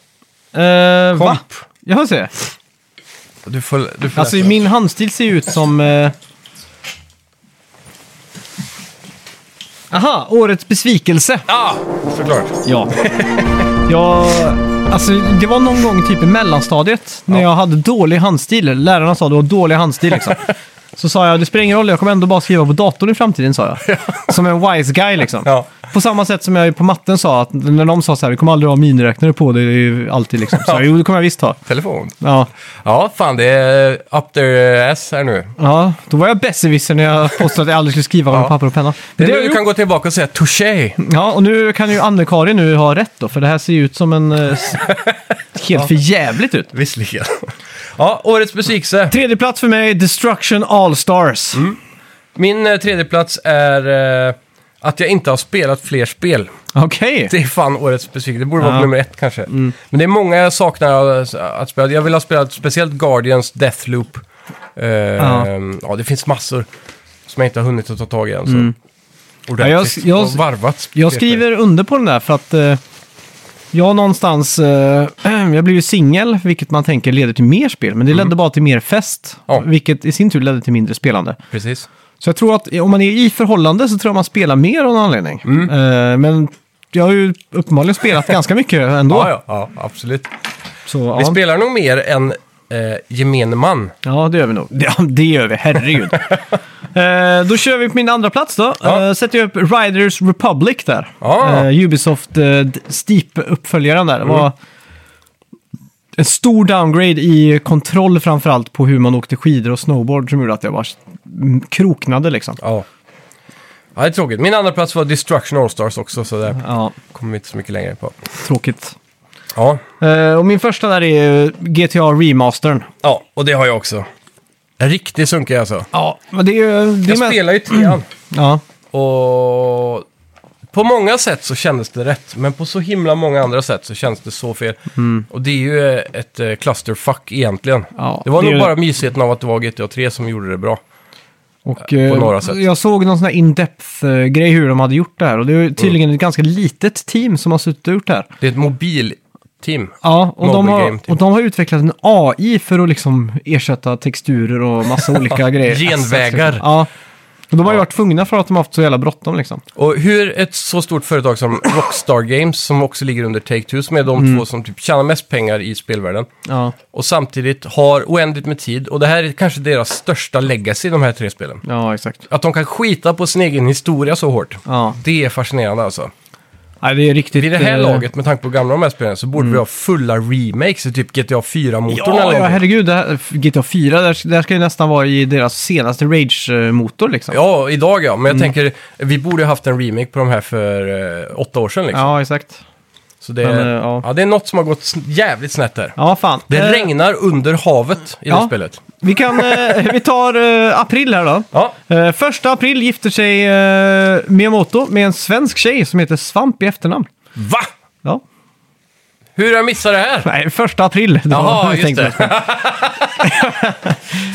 Uh, va?
Komp.
Jag får se.
Du får, du får
Alltså
läsa.
min handstil ser ju ut som... eh, Aha, årets besvikelse.
Ah, såklart.
Ja. jag, alltså, det var någon gång typ i mellanstadiet när jag hade dålig handstil. Lärarna sa du har dålig handstil liksom. Så sa jag, det spelar ingen roll, jag kommer ändå bara skriva på datorn i framtiden, sa jag. Som en wise guy liksom.
Ja.
På samma sätt som jag på matten sa, att när de sa så här, vi kommer aldrig ha miniräknare på det är ju alltid liksom. Så jag, jo, det kommer jag visst ha.
Telefon.
Ja,
Ja, fan det är up their ass här nu.
ja då var jag besserwisser när jag påstod att jag aldrig skulle skriva med
Ja.
papper och penna.
Det
Men
är
det har jag
nu du
gjort.
kan gå tillbaka och säga touché.
Ja, och nu kan ju Anne-Karin nu ha rätt då, för det här ser ju ut som en... eh, s- helt för jävligt ut.
Visserligen. Ja, årets besvikelse.
Tredje plats för mig, Destruction All Stars.
Mm. Min eh, tredje plats är eh, att jag inte har spelat fler spel.
Okej.
Det är fan årets besvikelse. Det borde vara
Ja. Mm.
nummer ett kanske. Men det är många jag saknar eh, att spela. Jag vill ha spelat speciellt Guardians, Deathloop. Eh, ja.
Ja.
det finns massor som jag inte har hunnit att ta tag i än. Så. Ordentligt.
Mm. Ja, jag- jag-
och varvat.
Jag skriver under på den där för att eh, jag någonstans... Eh, jag blev ju singel, vilket man tänker leder till mer spel. Men det ledde bara till mer fest,
Mm. Ja.
vilket i sin tur ledde till mindre spelande.
Precis.
Så jag tror att om man är i förhållande så tror jag man spelar mer av någon anledning.
Mm.
Eh, men jag har ju uppenbarligen spelat ganska mycket ändå.
Ja, ja, ja, absolut.
Så,
Vi
ja.
spelar nog mer än eh, gemene man.
ja, det gör vi nog. Ja, det gör vi, herregud. eh, då kör vi på min andra plats då.
Ja.
Eh, sätter jag upp Riders Republic där.
Ja. Mm.
Eh, Ubisoft eh, d- Steep-uppföljaren där. Det var en stor downgrade i kontroll framförallt på hur man åkte skidor och snowboard som gjorde att jag bara mm, kroknade liksom.
Ja. ja, det är tråkigt. Min andra plats var Destruction All-Stars också, så där
Ja,
kommer vi inte så mycket längre på.
tråkigt.
Ja,
Eh, och min första där är eh, GTA Remastern.
ja och det har jag också. Riktigt sunkig alltså.
Ja, men det är ju... Det är
Jag
mest-
spelar ju trean.
Ja,
Och på många sätt så kändes det rätt, men på så himla många andra sätt så kändes det så fel. Och det är ju eh, ett eh, clusterfuck egentligen.
Mm. Ja,
det var
det är
nog
ju-
bara mysigheten av att det var GTA 3 som gjorde det bra.
Och, eh,
på några sätt.
Jag såg någon sån här in-depth-grej hur de hade gjort det här. Och det är tydligen
Mm.
ett ganska litet team som har suttit och gjort det här.
Det är ett mobilteam.
Ja, och de,
Mobile
har,
game team.
och de har utvecklat en AI för att liksom ersätta texturer och massa olika grejer.
Genvägar.
Ja. Och de har ju varit tvungna för att de har haft så jävla bråttom liksom.
Och hur ett så stort företag som Rockstar Games, som också ligger under Take-Two, som är de
Mm.
två som typ tjänar mest pengar i spelvärlden,
Ja,
och samtidigt har oändligt med tid, och det här är kanske deras största legacy, de här tre spelen.
ja exakt.
Att de kan skita på sin egen historia så hårt,
Ja.
det är fascinerande alltså.
Nej, det är riktigt...
Vid det här
eh,
laget, med tanke på hur gamla de här spelen, är, så borde vi ha fulla remakes i typ GTA 4-motorn
Ja,
eller
ja,
någonting.
herregud. Det här, GTA 4, där, där ska ju nästan vara i deras senaste Rage-motor liksom.
Ja, idag ja. Men jag tänker, vi borde ha haft en remake på de här för eh, åtta år sedan liksom.
Ja, exakt.
Så det,
Men, eh,
ja.
ja.
det är något som har gått sn- jävligt snett där.
Ja, fan.
Det
Eh,
regnar under havet i det
ja.
spelet.
Vi, kan, eh, vi tar eh, april här då.
Ja,
Eh, första april gifter sig eh, Miyamoto med en svensk tjej som heter Svamp i efternamn.
va?
Ja.
Hur har jag missat det här?
Nej, första april. Det
Jaha,
jag
just
tänkte
det.
på.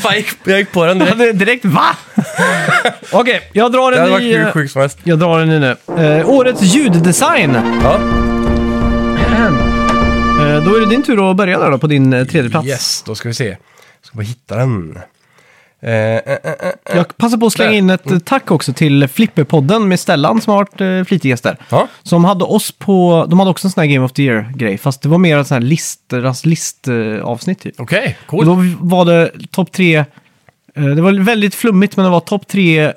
Fan, jag, gick, jag gick på den
Jag
direkt.
hade direkt va? Okej, jag drar
Det hade
en
varit
ny.
hur
eh,
sjukt som helst.
Jag drar en ny nu. Eh, årets ljuddesign.
Ja.
Eh, då är det din tur att börja där då på din eh, tredje plats.
Yes, då ska vi se. Jag ska bara hitta den. Eh, eh, eh, eh.
Jag passar på att slänga
Där. Mm.
in ett eh, tack också till Flipperpodden med Stellan som har varit eh, flitig gäst där.
Ja.
Som hade oss på, de hade också en sån här Game of the Year-grej, fast det var mer en sån här list, alltså listavsnitt typ.
Okej,
Och
coolt.
då var det topp tre, eh, det var väldigt flummigt men det var topp tre eh,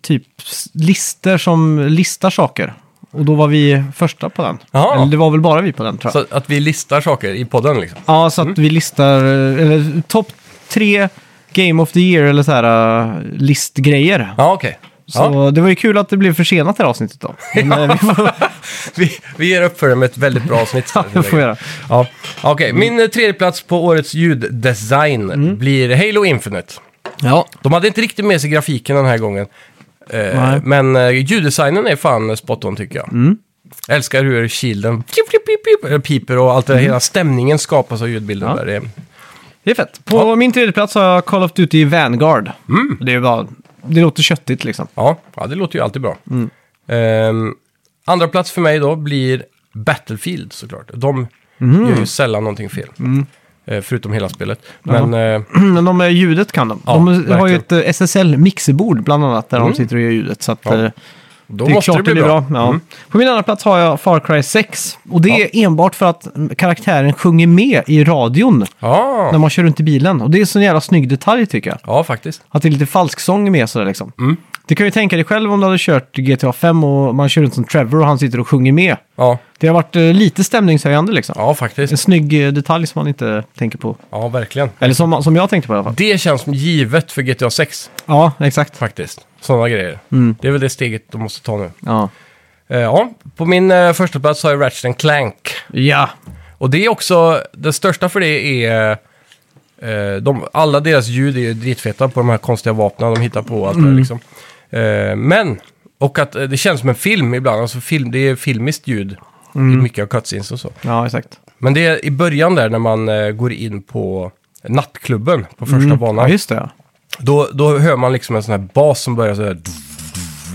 typ s- lister som listar saker. Och då var vi första på den.
Jaha.
Eller det var väl bara vi på den tror jag.
Så att vi listar saker i podden liksom.
Ja, så att vi listar, eh, eller topp tre Game of the Year eller så här eh, listgrejer.
Ja, okej. Ja.
Så det var ju kul att det blev försenat det här avsnittet då. Men eh, vi får,
Vi, vi ger upp för det med ett väldigt bra avsnitt.
ja, det får vi göra.
Ja, okej. Min eh, tredje plats på årets ljuddesign
Mm.
blir Halo Infinite.
Ja.
De hade inte riktigt med sig grafiken den här gången. Eh,
Nej. Mm.
men eh, ljuddesignen är fan spot on tycker jag. Jag älskar hur shielden pip, pip, pip, pip, eh, piper och allt det där. Hela stämningen skapas av ljudbilden
Mm. Ja.
där. Det är-
Det är fett. På min tredje plats har jag Call of Duty Vanguard.
Mm.
Det, är bara, det låter köttigt liksom.
Ja, ja, det låter ju alltid bra.
Mm.
Ehm, andra plats för mig då blir Battlefield såklart. De
Mm.
gör ju sällan någonting fel. Eh, förutom hela spelet. Men eh,
Men de, eh, ljudet kan de.
Ja,
de har ju
verkligen. Mm.
ett eh, SSL-mixerbord bland annat där de sitter och gör ljudet. Så att, eh,
då
det är
måste
klart
det bli bra. Mm.
Ja. På min andra plats har jag Far Cry 6. Och det är enbart för att mm, karaktären sjunger med i radion
Ja,
när man kör runt i bilen. Och det är en sån jävla snygg detalj tycker jag.
ja faktiskt.
Att det är lite falsksång med sådär liksom.
Mm.
Det kan ju tänka dig själv om du hade kört GTA 5 och man kör runt som Trevor och han sitter och sjunger med.
Ja,
Det har varit eh, lite stämningshöjande liksom.
ja
En
faktiskt.
snygg eh, detalj som man inte tänker på.
Ja, verkligen.
Eller som, som jag tänkte på i alla fall.
Det känns som givet för GTA 6
Ja, exakt.
faktiskt. Sådana grejer.
Mm.
Det är väl det steget de måste ta nu.
Ja.
Eh, ja, på min eh, första plats har jag Ratchet and Clank.
ja.
Och det är också, det största för det är, eh, de, alla deras ljud är ju dritfeta på de här konstiga vapnen de hittar på och allt
Mm.
det där liksom. Eh, men, och att eh, det känns som en film ibland, alltså film, det är filmiskt ljud.
Mm.
i Mycket av cutscenes och så.
Ja, exakt.
Men det är i början där när man eh, går in på nattklubben på första banan.
Mm. Ja, just det.
Då, då hör man liksom en sån här bas som börjar så här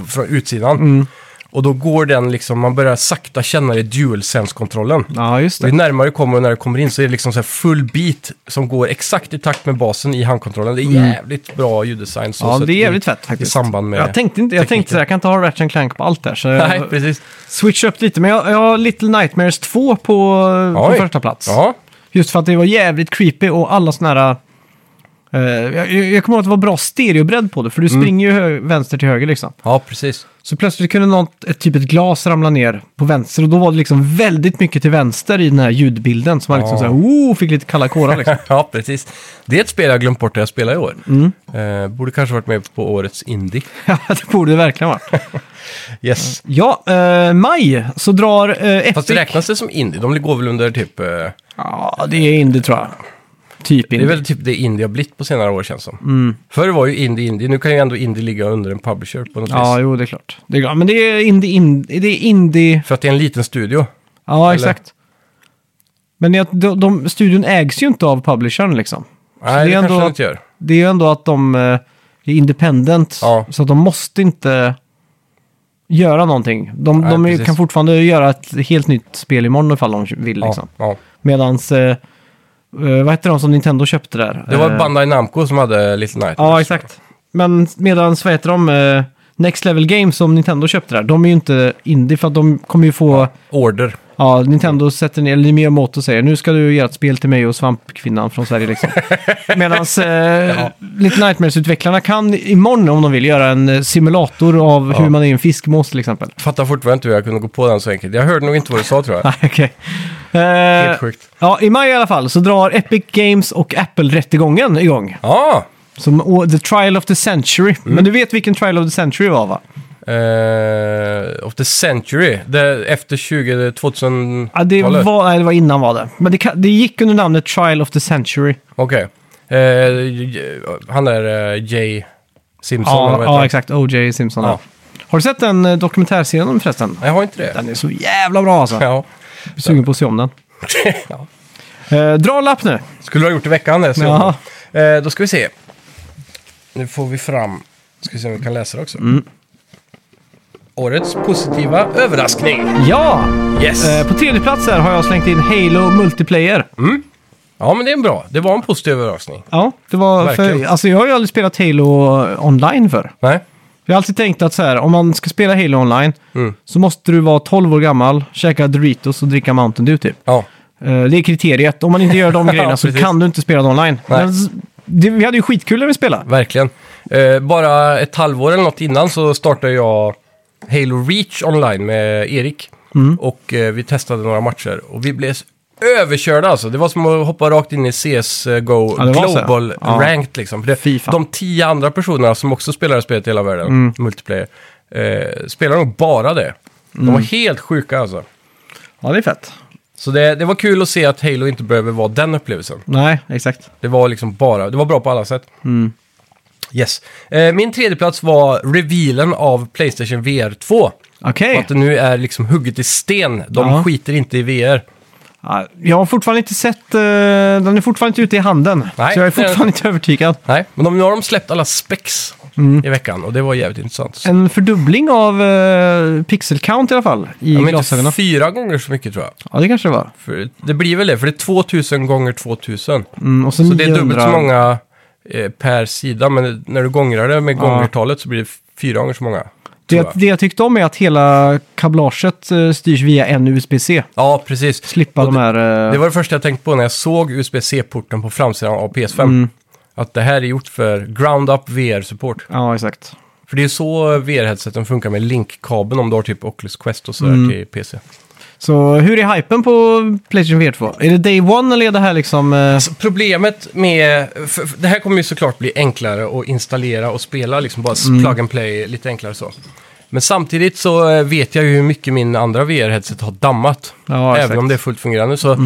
från utsidan.
Mm.
Och då går den liksom, man börjar sakta känna det i DualSense-kontrollen.
Ja, just
Och ju
det.
närmare du kommer och när du kommer in så är det liksom så här full beat som går exakt i takt med basen i handkontrollen. Det är jävligt bra ljuddesign. Så
Mm. Ja,
sett
det är
i-
jävligt fett
I
faktiskt.
samband med...
jag tänkte inte, jag tänkte
tekniken.
så här, jag kan inte ha Ratchet Clank på allt där. Så
Nej,
jag
precis.
switch upp lite. Men jag, jag har Little Nightmares 2 på, eh, på
Oj.
första plats.
Ja,
Just för att det var jävligt creepy och alla såna här... eh, jag, jag kommer ihåg att det var bra stereobredd på det, för du
Mm.
springer ju hö- vänster till höger liksom.
ja precis.
Så plötsligt kunde något, ett, typ ett glas ramla ner på vänster och då var det liksom väldigt mycket till vänster i den här ljudbilden. Så man liksom
Ja.
så här, oh, fick lite kalla kårar liksom.
ja, precis. Det är ett spel jag har glömt bort att jag spelar i år.
Mm.
Eh, borde kanske varit med på årets Indie.
ja, det borde det verkligen vara.
Yes.
Ja, eh, maj så drar eh, Epic...
Fast räknas det som Indie? De går väl under typ... eh,
Ja, det är indie tror jag. Typ
det är
indie. Mm.
väl typ det Indie har blivit på senare år känns som. Förr var ju Indie Indie, nu kan ju ändå Indie ligga under en publisher på något
Ja,
vis.
jo, det är klart. Det är, klart. men det är indie, indie, det är indie...
För att det är en liten studio.
Ja, exakt. Men jag, de, de, studion ägs ju inte av publishern liksom.
Nej, det,
det är
kanske
ändå-
den inte gör.
Det är ju ändå att de eh, Det är independent,
Ja.
så de måste inte göra någonting. De,
Nej,
de är-
precis.
kan fortfarande göra ett helt nytt spel imorgon ifall de vill.
Ja,
Liksom.
ja.
Medans, eh, eh, vad hette de som Nintendo köpte där?
Det var
Eh,
Bandai Namco som hade Little Night.
Ja, exakt. Men medans, vad heter de, eh, Next Level Games som Nintendo köpte där, de är ju inte indie för att de kommer ju få,
Order.
ja, Nintendo sätter ner eller Miyamoto och säger nu ska du göra ett spel till mig och svampkvinnan från Sverige liksom. medans eh, Little Nightmares-utvecklarna kan imorgon om de vill göra en eh, simulator av hur man är en fiskmås till exempel.
Fattar fortfarande inte hur jag kunde gå på den så enkelt. Jag hörde nog inte vad du sa tror jag.
Nej, okej. Eh,
Helt sjukt.
Ja, i maj i alla fall så drar Epic Games och Apple-rättegången igång.
Ja!
Som å- The Trial of the Century.
Mm.
Men du vet vilken Trial of the Century var va?
Eh, of the century. Det, efter 20, 2000
Ja, det, var, nej, det var innan var det. Men det, ka- det gick under namnet Trial of the Century.
Okej. Eh, j- han där eh, Jay Simpson eller
Ja,
vad heter
ja
han?
exakt. O.J. Simpson.
Ja.
ja. Har du sett den eh, dokumentärserien om förresten?
Nej, Jag har inte det.
Den är så jävla bra alltså.
Ja.
Jag är sugen på att se om den.
Ja.
Eh, dra en lapp nu.
Skulle du ha gjort i veckan det. Så.
Ja.
Eh, då ska vi se. Nu får vi fram. Ska vi se om vi kan läsa det också.
Mm.
Årets positiva överraskning.
Ja!
Yes!
Eh, på tredje plats här har jag slängt in Halo Multiplayer.
Mm. Ja, men det är en bra. Det var en positiv överraskning.
Ja, det var för,
Verkligen.
alltså jag har ju aldrig spelat Halo online för.
Nej?
Jag har alltid tänkt att så här, om man ska spela Halo online
Mm.
så måste du vara 12 år gammal, käka Doritos och dricka Mountain Dew typ.
Ja.
Eh, Det är kriteriet. Om man inte gör de grejerna
Ja,
så
precis.
kan du inte spela det online.
Nej.
Men s- det, vi hade ju skitkul när vi spelade.
Verkligen. Eh, bara ett halvår eller något innan så startade jag Halo Reach online med Erik.
Mm.
Och eh, vi testade några matcher och vi blev överkörda alltså. Det var som att hoppa rakt in i CSGO
Ja, det var så.
Global
Ja.
Ranked liksom. För det,
Fy fan. Mm.
de tio andra personerna som också spelar spelet i hela världen, multiplayer, eh, spelar nog bara det. De
Mm.
var helt sjuka alltså.
Ja, det är fett.
Så det, det var kul att se att Halo inte behöver vara den upplevelsen.
Nej, exakt.
Det var liksom bara, det var bra på alla sätt.
Mm.
Yes. Eh, min tredje plats var revealen av Playstation VR 2.
Okej.
Att det nu är liksom hugget i sten. De
Ja.
skiter inte i VR.
Ja, Jag har fortfarande inte sett... eh, den är fortfarande inte ute i handen.
Nej,
så jag är
det är-
fortfarande inte övertygad.
Nej, men de, nu har de släppt alla specs i veckan och det var jävligt intressant.
Mm. En fördubbling av eh, pixel count i alla fall i
Ja, men inte
glasögonen.
fyra gånger så mycket tror jag.
Ja, det kanske det var.
För det blir väl det, för det är 2000 gånger 2000.
Mm, och
Så det är dubbelt så
900
många eh, per sida, men när du gångrar det med gångertalet så blir det fyra gånger så många. tror
Det,
jag.
det jag tyckte om är att hela kablaget eh, styrs via en USB-C.
Ja, precis.
Slippa
Och
de
det-
här... eh,
Det var det första jag tänkte på när jag såg USB-C-porten på framsidan av PS5.
Mm.
Att det här är gjort för ground-up VR-support.
Ja, exakt.
För det är så VR-headseten funkar med link-kabeln om du har typ Oculus Quest och sådär
Mm.
till PC.
Så hur är hypen på Playstation VR 2? Är det Day One eller är det här liksom... eh,
Så Alltså, problemet med... För, för det här kommer ju såklart bli enklare att installera och spela, liksom bara
Mm.
plug and play, lite enklare så. Men samtidigt så eh, vet jag ju hur mycket min andra VR-headset har dammat.
Ja,
även
exakt. Mm.
om det är fullt fungerande. Så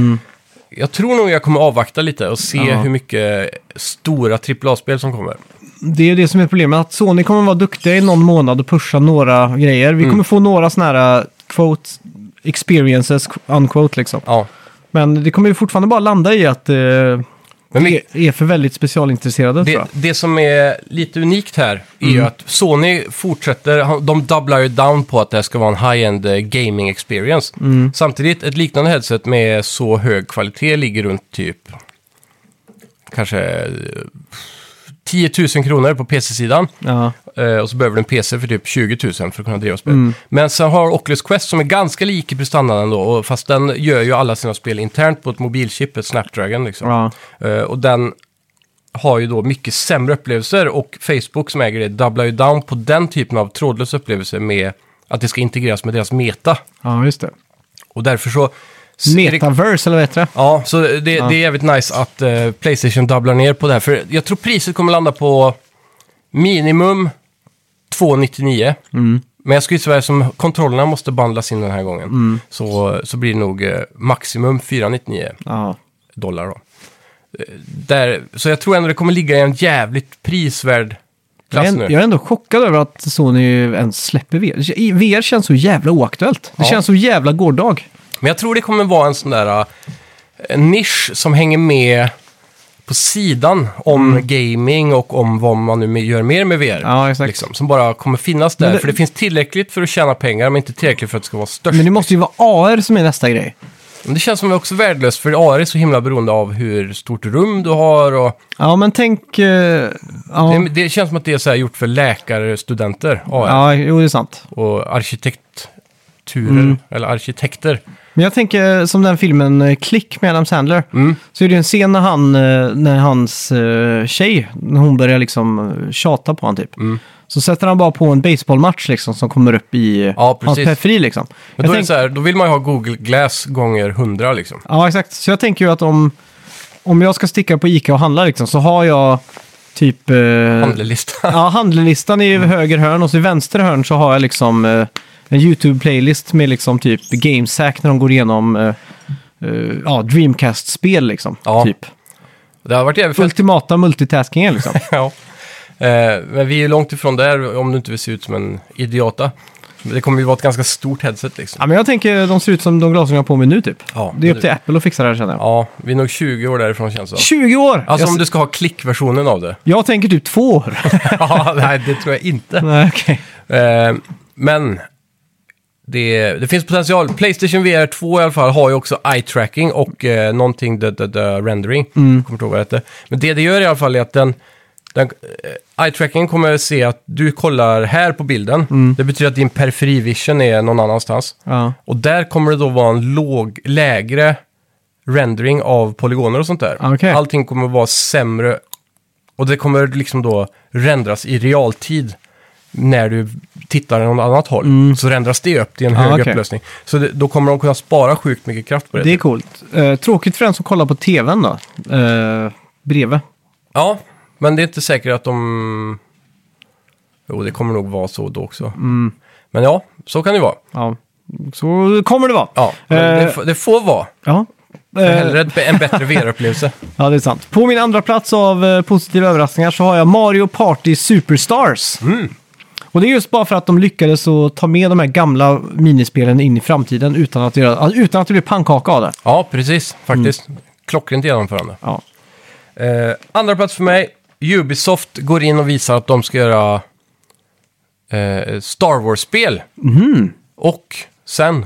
jag tror nog jag kommer avvakta lite och se
Ja.
hur mycket stora AAA-spel som kommer.
Det är ju det som är problemet, att Sony kommer vara duktiga i någon månad och pusha några grejer. Vi
Mm.
kommer få några sådana här quote experiences, unquote liksom.
Ja.
Men det kommer ju fortfarande bara landa i att eh,
Men
det är för väldigt specialintresserade tror
Det,
jag. Mm.
det som är lite unikt här är ju att Sony fortsätter, han- de doublar ju down på att det här ska vara en high-end eh, gaming experience.
Mm.
Samtidigt, ett liknande headset med så hög kvalitet ligger runt typ kanske eh, 10 000 kronor på PC-sidan.
Ja.
Eh, och så behöver du en PC för typ 20 000 för att kunna driva spel.
Mm.
Men sen har Oculus Quest som är ganska lik i prestandan ändå, och fast den gör ju alla sina spel internt på ett mobilchip, ett Snapdragon liksom.
Ja.
Eh, och den har ju då mycket sämre upplevelser och Facebook som äger det doublar ju down på den typen av trådlösa upplevelser med att det ska integreras med deras meta.
ja, just det.
Och därför så...
Metaverse eller vad heter det?
Ja, så det, det är jävligt nice att eh, Playstation doublar ner på det här. För jag tror priset kommer landa på minimum 299. Men jag skulle säga som kontrollerna måste bandlas in den här gången. Så, så blir det nog eh, maximum 499
Ja.
dollar då. Eh, Där, så jag tror ändå det kommer ligga i en jävligt prisvärd
Jag,
klass
är,
nu.
jag är ändå chockad över att Sony ens släpper VR. I- VR känns så jävla oaktuellt. Det
Ja.
känns så jävla gårdag.
Men jag tror det kommer vara en sån där eh, en nisch som hänger med på sidan om gaming och om vad man nu gör mer med VR.
Mm. Ja, exakt.
Liksom, som bara kommer finnas där.
Men det-
För det finns tillräckligt för att tjäna pengar, men inte tillräckligt för att det ska vara störst.
Men
Men
det måste ju vara AR som är nästa grej.
det känns som också värdelöst, för AR är så himla beroende av hur stort rum du har. Och
Ja, men tänk... eh, ja,
det, det känns som att det är så här gjort för läkare, studenter, AR.
ja, jo, det är sant.
och arkitekturer, eller arkitekter.
Men jag tänker som den filmen eh, Klick med Adam Sandler.
Mm.
Så är det ju en scen när, han, eh, när hans eh, tjej, när hon börjar liksom eh, tjata på honom typ.
Mm.
Så sätter han bara på en baseballmatch liksom som kommer upp i eh,
Ja,
hans
precis.
periferi liksom. Jag
Men då, är det
tänk-
så här, då vill man ju ha Google Glass gånger 100 liksom.
Ja, exakt. Så jag tänker ju att om, om jag ska sticka på Ica och handla liksom, så har jag typ... Eh,
Handlelista.
ja, handlelistan
Mm.
i höger hörn och så i vänster hörn så har jag liksom eh, en YouTube-playlist med liksom typ GameSack när de går igenom eh, eh, ja, Dreamcast-spel liksom.
Ja.
Typ.
Det har varit jävligt fett.
Ultimata multitaskingen liksom.
Ja. Eh, men vi är ju långt ifrån där om du inte vill se ut som en idiota. Men Det kommer ju vara ett ganska stort headset liksom.
ja, men jag tänker de ser ut som de glasögon jag har på mig nu typ.
Ja,
det är upp till Apple att fixa det här känner jag.
Ja, vi är nog 20 år därifrån känns det som.
20 år!
Alltså
jag,
om du ska ha klickversionen av det.
jag tänker typ två år.
ja, nej, det tror jag inte.
Nej, okej.
Eh, men det, det finns potential. Playstation VR 2 i alla fall har ju också eye-tracking och eh, någonting the, the, the rendering. Kommer inte ihåg vad det hette. Men det det gör i alla fall är att den, den eh, eye-trackingen kommer se att du kollar här på bilden. Det betyder att din periferivision är någon annanstans.
Ja.
Och där kommer det då vara en låg, lägre rendering av polygoner och sånt där.
Okej.
Allting kommer vara sämre och det kommer liksom då rendras i realtid när du tittar åt något annat håll. Så rendras det upp till en
Mm. Ah,
hög
okej.
upplösning. Så det, då kommer de kunna spara sjukt mycket kraft på det.
Det är coolt. Eh, tråkigt för den som kollar på tvn då. Uh, bredvid.
Ja, men det är inte säkert att de... Jo, det kommer nog vara så då också.
Mm.
Men ja, så kan det vara.
Ja. Så kommer det vara.
Ja, men
Eh,
det, f- det får vara.
Ja.
För
Eh,
hellre ett, en bättre VR-upplevelse.
Ja, det är sant. På min andra plats av eh, positiva överraskningar så har jag Mario Party Superstars. Och det är just bara för att de lyckades att ta med de här gamla minispelen in i framtiden utan att, göra, alltså, utan att det blev pannkaka av det.
Ja, precis. Faktiskt. Mm. Klockrent genomförande.
Ja.
Eh, andra plats för mig. Ubisoft går in och visar att de ska göra eh, Star Wars-spel. Mhm. Och sen,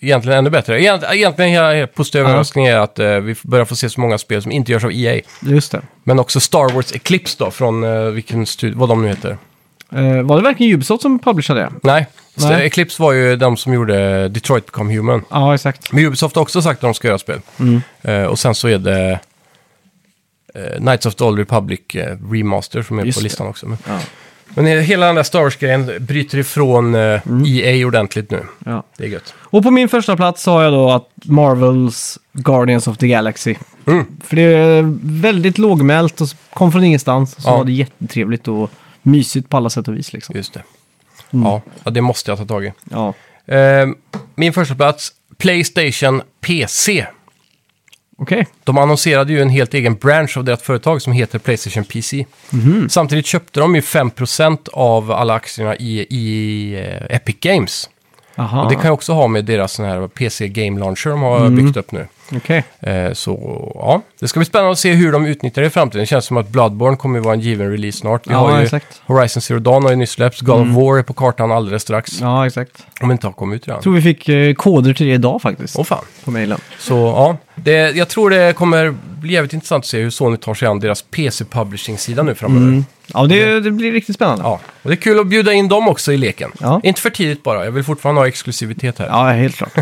egentligen ännu bättre. Egent, egentligen hela positiva
Ja.
överraskningen är att eh, vi f- börjar få se så många spel som inte görs av EA.
Just det.
Men också Star Wars Eclipse då, från eh, vilken studio, vad de nu heter.
Eh, var det verkligen Ubisoft som publicerade det?
Nej,
Nej.
Nej. Eclipse var ju de som gjorde Detroit Become Human.
Ja, exakt.
Men Ubisoft har också sagt att de ska göra spel.
Mm.
Eh, och sen så är det eh, Knights of the Old Republic eh, Remaster som är
Just
på
det.
listan också. Men,
Ja.
men hela den där Star Wars-grejen bryter ifrån eh, EA ordentligt nu.
Mm. Ja.
Det är gött.
Och på min första plats sa jag då att Marvels Guardians of the Galaxy.
Mm.
För det är väldigt lågmält och kom från ingenstans. Så
Ja.
var det jättetrevligt och mysigt på alla sätt och vis liksom.
Just det.
Mm.
Ja, ja, det måste jag ta tag i.
Ja.
Eh, min första plats Playstation PC.
Okej.
De annonserade ju en helt egen branch av deras företag som heter Playstation PC.
Mhm.
Samtidigt köpte de ju 5% av alla aktierna i, i eh, Epic Games.
Aha.
Och det kan jag också ha med deras sån här PC Game Launcher de har
Mm.
byggt upp nu.
Okej.
Eh, så ja, det ska bli spännande att se hur de utnyttjar det i framtiden. Det känns som att Bloodborne kommer att vara en given release snart. Vi
Ja,
har ju
exakt. Mm.
Horizon Zero Dawn har ju nyss släppts. God of War är på kartan alldeles strax.
Ja, exakt.
Om inte har kommit ut redan.
Jag tror vi fick eh, koder till det idag faktiskt.
Åh fan.
På mejlen.
Så ja, det, jag tror det kommer bli jävligt intressant att se hur Sony tar sig an deras PC-publishing-sida nu framöver.
Ja, det, det blir riktigt spännande.
Ja, och det är kul att bjuda in dem också i leken.
Ja.
Inte för tidigt bara, jag vill fortfarande ha exklusivitet här.
Ja, helt klart.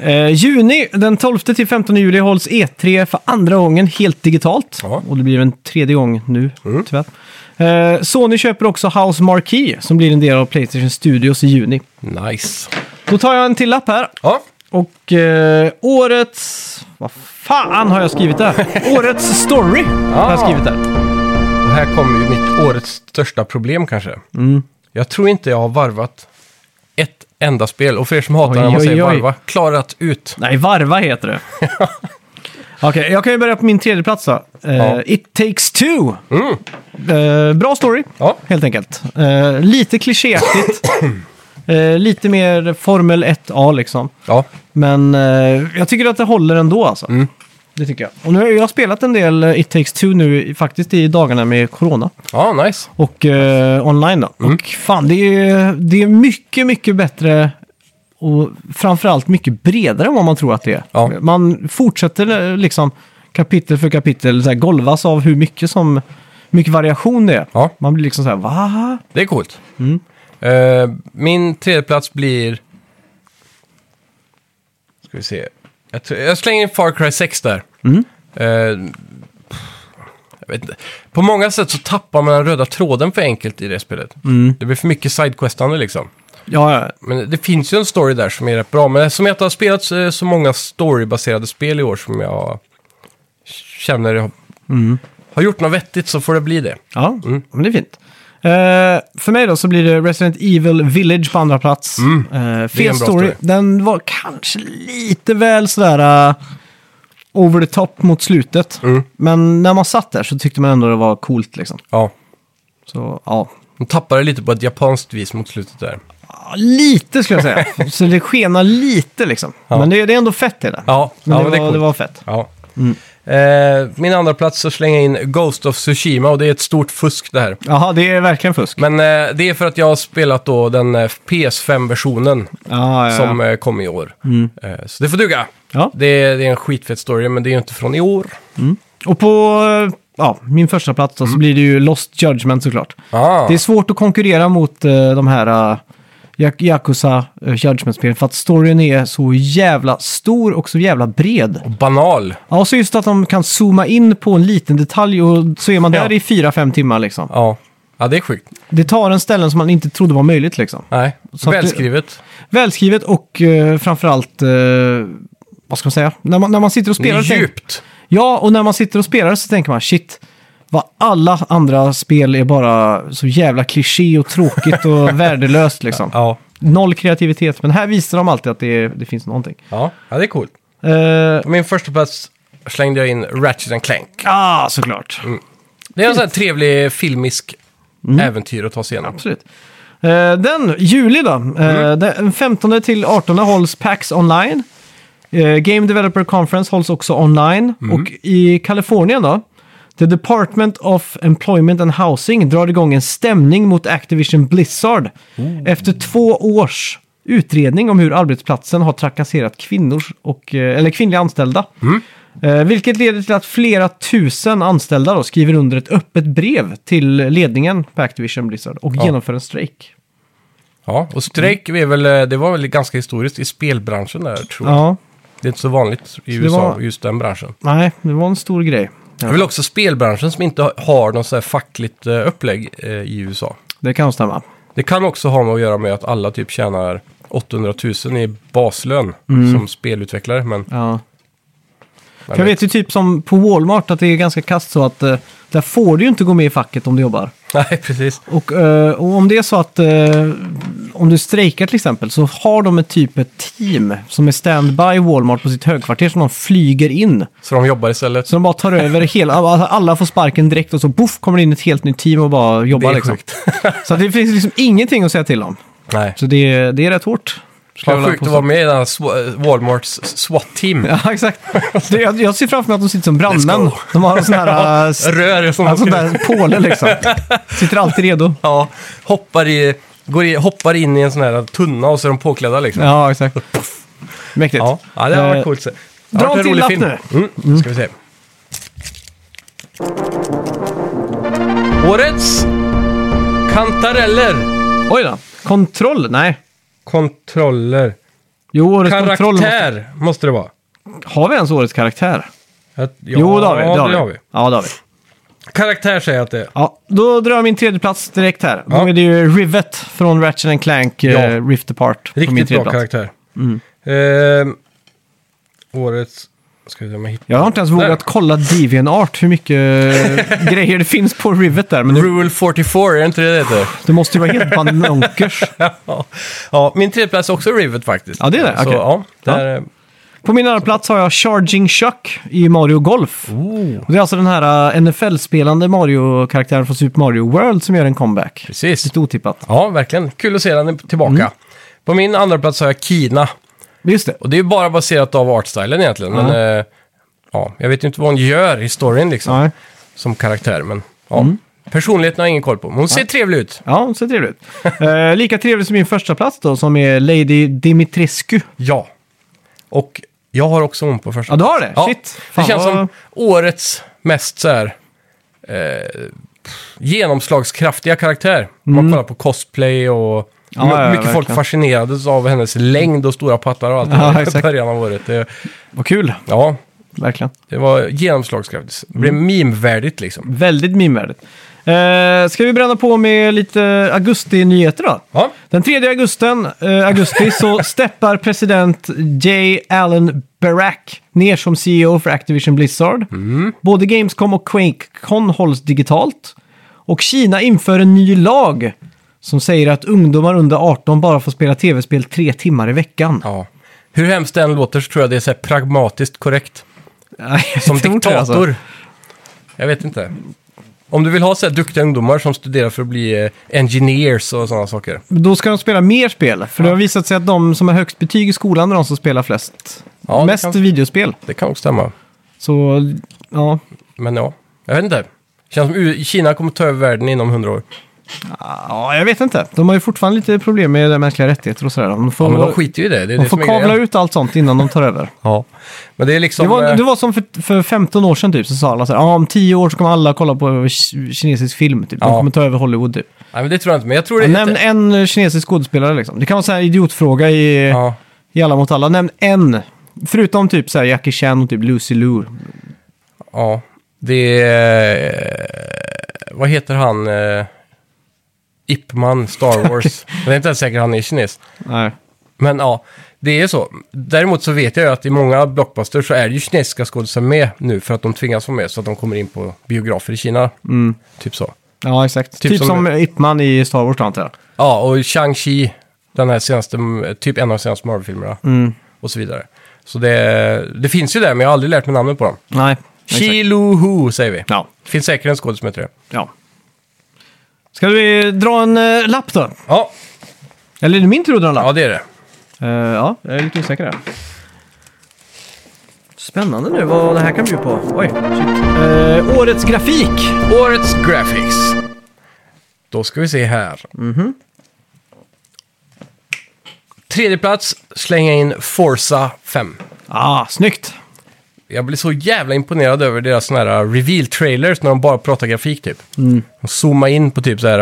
eh, juni, den 12 till 15 juli hålls E3 för andra gången helt digitalt.
Ja.
Och det blir en tredje gång nu, tyvärr. Eh, Sony köper också House Marquee som blir en del av Playstation Studios i juni.
Nice.
Då tar jag en till lapp här.
Ja,
Och eh, årets... Vad fan har jag skrivit där? årets story har jag skrivit där.
Och här kommer ju mitt årets största problem kanske.
Mm.
Jag tror inte jag har varvat ett enda spel. Och för er som hatar
Oj,
när man
oj,
säger
oj.
varva, klarat ut.
Nej, varva heter det. Okej, jag kan ju börja på min tredje plats då. Eh,
Ja.
It takes two. Eh, bra story,
Ja.
helt enkelt. Eh, lite klichéaktigt. Eh, lite mer Formel 1A liksom.
Ja,
Men eh, jag tycker att det håller ändå alltså. Det tycker jag. Och nu har jag spelat en del eh, It takes two nu i- faktiskt i dagarna med corona.
Ja, nice.
Och eh, online då.
Mm.
Och fan, det är, det är mycket, mycket bättre och framförallt mycket bredare än vad man tror att det är.
Ja.
Man fortsätter eh, liksom kapitel för kapitel så här, golvas av hur mycket, som, mycket variation det är.
Ja.
Man blir liksom så här, va?
Det är coolt.
Mm.
Eh, min tredje plats blir... Ska vi se. Jag, tror- jag slänger in Far Cry 6 där.
Mm.
Eh, pff, jag vet inte. På många sätt så tappar man den röda tråden för enkelt i det spelet.
Mm.
Det blir för mycket sidequestande liksom.
Ja, ja.
Men det finns ju en story där som är rätt bra. Men som jag inte har spelat så, så många storybaserade spel i år som jag känner jag har,
Mm.
har gjort något vettigt så får det bli det.
ja. men det är fint. Eh, för mig då så blir det Resident Evil Village på andra plats. Eh,
Mm. Det är en
fel
bra
story.
story.
Den var kanske lite väl sådär eh, over the top mot slutet.
Mm.
Men när man satt där så tyckte man ändå det var coolt liksom.
Ja.
Så ja,
De tappar det lite på ett japanskt vis mot slutet där.
Ja, lite skulle jag säga. så det skenar lite liksom.
Ja.
Men det, det är ändå fett det där.
Ja,
men
ja,
det,
men det är
var,
coolt.
det var Mm. fett.
Ja. Eh, min andra plats så slänger jag in Ghost of Tsushima och det är ett stort fusk det här.
Jaha, det är verkligen fusk.
Men eh, det är för att jag har spelat då den eh, PS5-versionen
ja, ja,
som
ja.
eh, kom i år. Eh, så det får duga.
Ja.
Det, är, det är en skitfett story, men det är ju inte från i år.
Och på eh, ja, min första plats
Mm.
då, så blir det ju Lost Judgment såklart.
Ah.
Det är svårt att konkurrera mot eh, de här uh, Yakuza uh, Judgment-spelen för att storyn är så jävla stor och så jävla bred.
Banal.
Ja, och så just att de kan zooma in på en liten detalj och så är man där
Ja.
i fyra fem timmar liksom.
Ja. ja, det är sjukt.
Det tar en ställen som man inte trodde var möjligt liksom.
Nej,
Så att det-
välskrivet.
Välskrivet och eh, framförallt, eh, vad ska man säga, när man, när man sitter och
Det
spelar...
är
tänk-
djupt.
Ja, och när man sitter och spelar så tänker man shit, vad alla andra spel är bara så jävla kliché och tråkigt och värdelöst liksom.
Ja.
Noll kreativitet, men här visar de alltid att det, det finns någonting.
Ja. ja, det är coolt.
Eh,
På min första plats slängde jag in Ratchet and Clank.
ah, såklart.
Det är en sån här trevlig filmisk
Mm.
äventyr att ta sig igenom.
Absolut. Eh, den, juli då. Eh, Den 15 till 18 hålls PAX online. Eh, Game Developer Conference hålls också online. Och i Kalifornien då. The Department of Employment and Housing drar igång en stämning mot Activision Blizzard. Efter två års utredning om hur arbetsplatsen har trakasserat kvinnor och, eh, eller kvinnliga anställda. Eh, Vilket leder till att flera tusen anställda då skriver under ett öppet brev till ledningen på Activision Blizzard och genomför en strejk.
Ja, och strejk är väl, eh, det var väl ganska historiskt i spelbranschen där tror jag.
Ja,
Det är inte så vanligt i
det
USA,
var-
just den branschen.
nej, det var en stor grej.
Det är väl också spelbranschen som inte ha- har något så här fackligt eh, upplägg eh, i USA.
Det kan stämma.
Det kan också ha med att göra med att alla typ tjänar 800 000 i baslön
Mm.
som spelutvecklare. Men,
Ja.
men
Jag vet ju typ som på Walmart att det är ganska kast så att eh, där får du ju inte gå med i facket om du jobbar.
Nej, precis.
Och, eh, och om det är så att eh, om du strejkar till exempel så har de ett typ ett team som är standby i Walmart på sitt högkvarter som de flyger in.
Så de jobbar istället.
Så de bara tar över hela, alltså alla får sparken direkt och så boff kommer det in ett helt nytt team och bara
det
jobbar.
är
liksom.
sjukt.
Så att det finns liksom ingenting att säga till om.
Nej.
Så det, är- det är rätt hårt.
Det var sjukt att vara med i den här Sw- Walmarts SWAT-team.
Ja, exakt. Det, jag, jag ser framför mig att de sitter som brandmän.
Let's go.
De har en sån här... äh,
Rör som
en sån där påle liksom. Sitter alltid redo.
Ja, hoppar, i, går i, hoppar in i en sån här tunna och så är de påklädda liksom.
Ja, exakt. Mäktigt.
Ja, ja det har
Eh,
varit coolt. Det har
dra
varit
en till lapp nu.
Mm, ska vi se. Årets kantareller.
Oj då. Kontroll? Nej.
Kontroller.
Jo, årets kontroll måste...
Karaktär måste... det vara.
Har vi ens årets karaktär?
Att- ja,
jo, det har vi.
Ja, det har vi.
Ja, det har vi.
Karaktär säger jag att det är.
Ja, då drar jag min tredje plats direkt här. Då
Ja.
är det ju Rivet från Ratchet and Clank eh,
Ja.
Rift Apart. på min
Riktigt
tredje
bra
plats.
karaktär. Ehm, årets... Ska vi se om jag hittar...
Jag har inte ens
Där.
vågat kolla DeviantArt hur mycket eh, grejer det finns på Rivet där. Men det,
Rule 44, är det inte det det heter?
det måste ju vara helt banonkers.
Ja. ja, min tredjeplats är också Rivet faktiskt.
Ja, det är det?
Så,
Okej.
ja, där, eh,
På min andra plats har jag Charging Chuck i Mario Golf. Och det är alltså den här eh, NFL-spelande Mario-karaktären från Super Mario World som gör en comeback.
Precis.
Lite otippat.
Ja, verkligen. Kul att se den tillbaka. På min andra plats har jag Kina.
Just det.
Och det är ju bara baserat av artstylen egentligen. Men, eh, ja, jag vet ju inte vad hon gör i storyn liksom,
Nej.
som karaktär. Men, ja. Personligheten har jag ingen koll på, men hon ser trevlig ut.
Ja, hon ser trevlig ut. Eh, lika trevlig som min första plats då, som är Lady Dimitrescu.
Ja. Och jag har också hon på första
Ja, du har det?
Ja.
Shit.
Det
Fan,
känns
vad-
som årets mest så här, eh, genomslagskraftiga karaktär. Om Man kollar på cosplay och
Mm. Ja,
my-
ja, ja,
mycket folk
verkligen. Mm.
fascinerades av hennes längd och stora pattar och allt
Ja,
det där i
exakt.
början av året. Det,
Vad kul,
ja,
verkligen.
det var genomslagskraftigt. Det
Mm.
blev meme-värdigt liksom.
Väldigt mimvärdigt. Eh, ska vi bränna på med lite augusti-nyheter då?
Ja,
Den 3 augusten, eh, augusti så steppar president J. Allen Barack ner som CEO för Activision Blizzard.
Mm.
Både Gamescom och QuakeCon hålls digitalt. Och Kina inför en ny lag som säger att ungdomar under 18 bara får spela tv-spel tre timmar i veckan.
ja. Hur hemskt den låter så tror jag det är så här pragmatiskt korrekt.
Jag
Som
tror inte det,
diktator.
alltså.
Jag vet inte. Om du vill ha så här duktiga ungdomar som studerar för att bli eh, engineers och sådana saker.
Då ska de spela mer spel. För det har visat sig att de som har högst betyg i skolan är de som spelar flest.
Ja, det
Mest
kan-
videospel.
Det kan också stämma.
Så ja,
Men ja, jag vet inte. Känns som U- Kina kommer ta över världen inom hundra år.
Ja, jag vet inte. De har ju fortfarande lite problem med de mänskliga rättigheter och sådär. De får,
Ja, men de skiter ju i det. Det är
de
det
får
som är
kavla
grejen.
ut allt sånt innan de tar över.
Ja. Men det är liksom...
Det var,
eh,
det var som för, för 15 år sedan typ, så sa alla så här, ah, om 10 år så kommer alla kolla på ki- kinesisk film, typ. de
Ja.
kommer ta över Hollywood. Typ.
Nej, men det tror jag inte. Men jag tror det är
Nämn
lite...
en eh, kinesisk skådespelare liksom. Det kan vara så här idiotfråga i,
Ja.
i Alla mot alla. Nämn en. Förutom typ så här Jackie Chan och typ Lucy Liu.
ja. Det är... eh, Vad heter han? eh, Ip Man, Star Wars. Jag är inte ens säker att han är kines.
Nej.
Men ja, det är så. Däremot så vet jag ju att i många blockbusters så är det ju kinesiska skådespelare med nu för att de tvingas vara med så att de kommer in på biografer i Kina.
Mm.
Typ så.
Ja, exakt.
Typ
Typ,
som-
som, Ip Man i Star Wars, då, antar jag.
Ja, och Shang-Chi, den här senaste, typ en av de senaste Marvel-filmerna.
Mm.
Och så vidare. Så det, det finns ju där, men jag har aldrig lärt mig namnet på dem.
Nej. exakt.
Chi-Lu-Hu säger vi.
Ja.
Finns säkert en skådis som heter det.
ja. Ska vi dra en eh, lapp då?
Ja,
Eller är det min tur att dra en lapp?
ja, det är det.
Eh, ja, jag är lite osäker där. Spännande nu vad det här kan bjuda på. Oj, shit. Eh, årets grafik!
Årets Graphics. Då ska vi se här.
Mhm.
Tredje plats, slänga in Forza 5.
Ah, snyggt!
Jag blev så jävla imponerad över deras såna här reveal-trailers när de bara pratar grafik typ.
Mm.
De zoomar in på typ så här,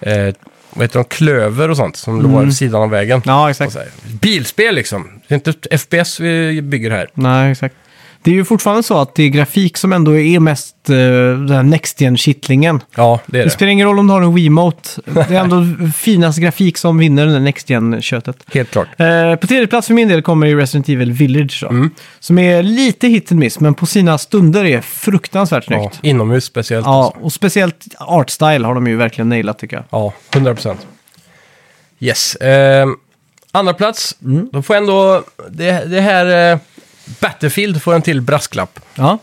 eh, vad heter de, klöver och sånt som låg vid sidan av vägen.
Mm. Ja,
Och
exakt.
så här, bilspel liksom. Det är inte ett FPS vi bygger här.
Nej, exakt. Det är ju fortfarande så att det är grafik som ändå är mest eh, den här next gen kittlingen
Ja, det är
Det
det.
spelar ingen roll om du har en Wiimote. Det är ändå finast grafik som vinner det där next gen köttet
Helt klart.
Eh, på tredje plats för min del kommer ju Resident Evil Village då. Som är lite hit and miss, men på sina stunder är fruktansvärt
Ja,
snyggt.
inomhus speciellt.
Ja,
alltså.
och speciellt artstyle har de ju verkligen nailat tycker jag.
ja 100 procent. Yes. Ehm, andra plats. Då får jag ändå... Det, det här... Eh, Battlefield får en till brasklapp.
Ja,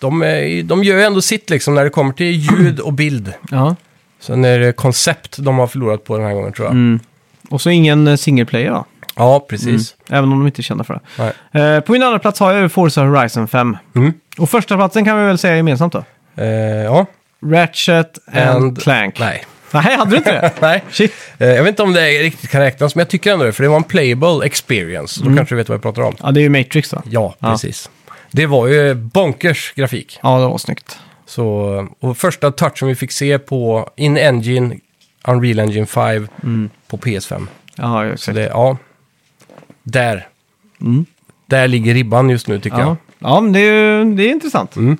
De, är- de gör ju ändå sitt liksom när det kommer till ljud och bild.
ja.
Sen är det koncept de har förlorat på den här gången tror jag.
Och så ingen eh, single player va?
Ja, precis.
Även om de inte är kända för det.
Nej.
Eh, på min andra plats har jag ju Forza Horizon 5.
Mm.
Och första platsen kan vi väl säga gemensamt då?
Eh, ja.
Ratchet and,
And-
Clank.
Nej.
Nej, hade du inte det?
Nej.
Shit.
Eh, jag vet inte om det riktigt kan räknas, men jag tycker ändå det, för det var en playable experience. Då kanske du vet vad jag pratar om.
Ja, det är ju Matrix då.
Ja,
Ja.
precis. Det var ju bonkers grafik.
Ja, det var snyggt.
Så, och första touchen vi fick se på In-Engine, Unreal Engine 5
Mm.
på PS5.
Ja,
Så
exakt.
det, ja. Där. Där ligger ribban just nu tycker
Mm. Ja,
jag.
ja men det är, ju- det är intressant.
Mm.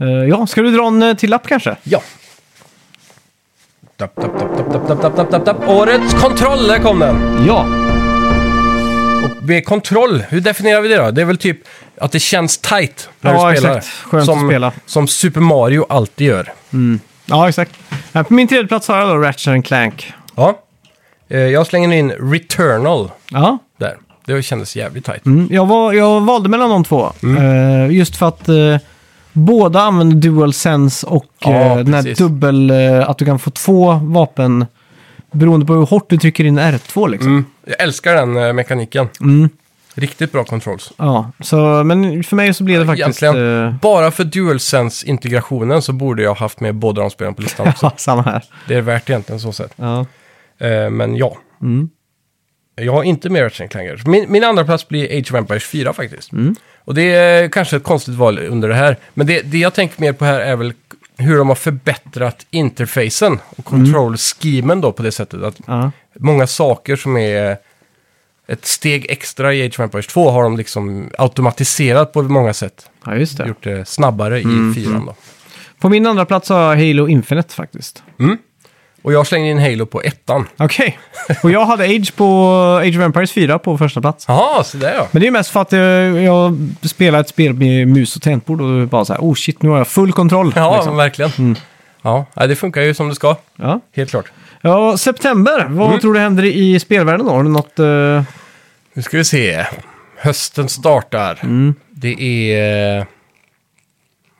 Eh, ja, ska du dra en eh, till lapp kanske?
Ja. Tapp, tapp, tapp, tapp, tapp, tapp, tapp, tapp, tapp, tapp. Årets kontroll, där kom den!
Ja.
Och med kontroll, hur definierar vi det då? Det är väl typ att det känns tight när
Ja,
du spelar.
exakt. Skönt
som,
att spela.
Som Super Mario alltid gör.
Ja, exakt. Här på min tredje plats har jag då Ratchet and Clank.
Ja. Eh, Jag slänger in Returnal
Ja.
där. Det kändes jävligt tight.
Mm, jag, var, jag valde mellan de två.
Mm.
Eh, just för att eh, båda använder DualSense och
Ja,
eh, den här
precis.
dubbel... eh, att du kan få två vapen
Mm.
beroende på hur hårt du trycker in R2 liksom. Mm.
Jag älskar den eh, mekaniken. Riktigt bra controls.
Ja, så, men för mig så blir det faktiskt...
Egentligen,
eh,
bara för DualSense-integrationen så borde jag haft med båda de spelen på listan också.
ja, samma här.
Det är värt egentligen så sett.
Ja.
Eh, men ja.
Mm.
Jag har inte med Ratchet Clangers. Min, min andra plats blir Age of Empires 4 faktiskt.
Mm.
Och det är kanske ett konstigt val under det här. Men det, det jag tänker mer på här är väl hur de har förbättrat interfacen och control-schemen då på det sättet. Att
Mm. Ja.
många saker som är ett steg extra i Age of Empires 2 har de liksom automatiserat på många sätt.
ja, Mm. just det.
Gjort det snabbare i 4 då.
På min andra plats har jag Halo Infinite faktiskt.
Och jag slängde in Halo på ettan.
Okej. Och jag hade Age på Age of Empires 4 på första plats.
Jaha, så där ja.
Men det är mest för att eh, jag spelar ett spel med mus och tangentbord och bara så här, oh shit, nu har jag full kontroll.
Ja,
liksom.
verkligen. Ja, nej, det funkar ju som det ska.
ja.
Helt klart.
ja september. Vad
Mm.
tror du händer i spelvärlden då? Har du något... eh,
Nu ska vi se. Hösten startar.
Mm.
Det är...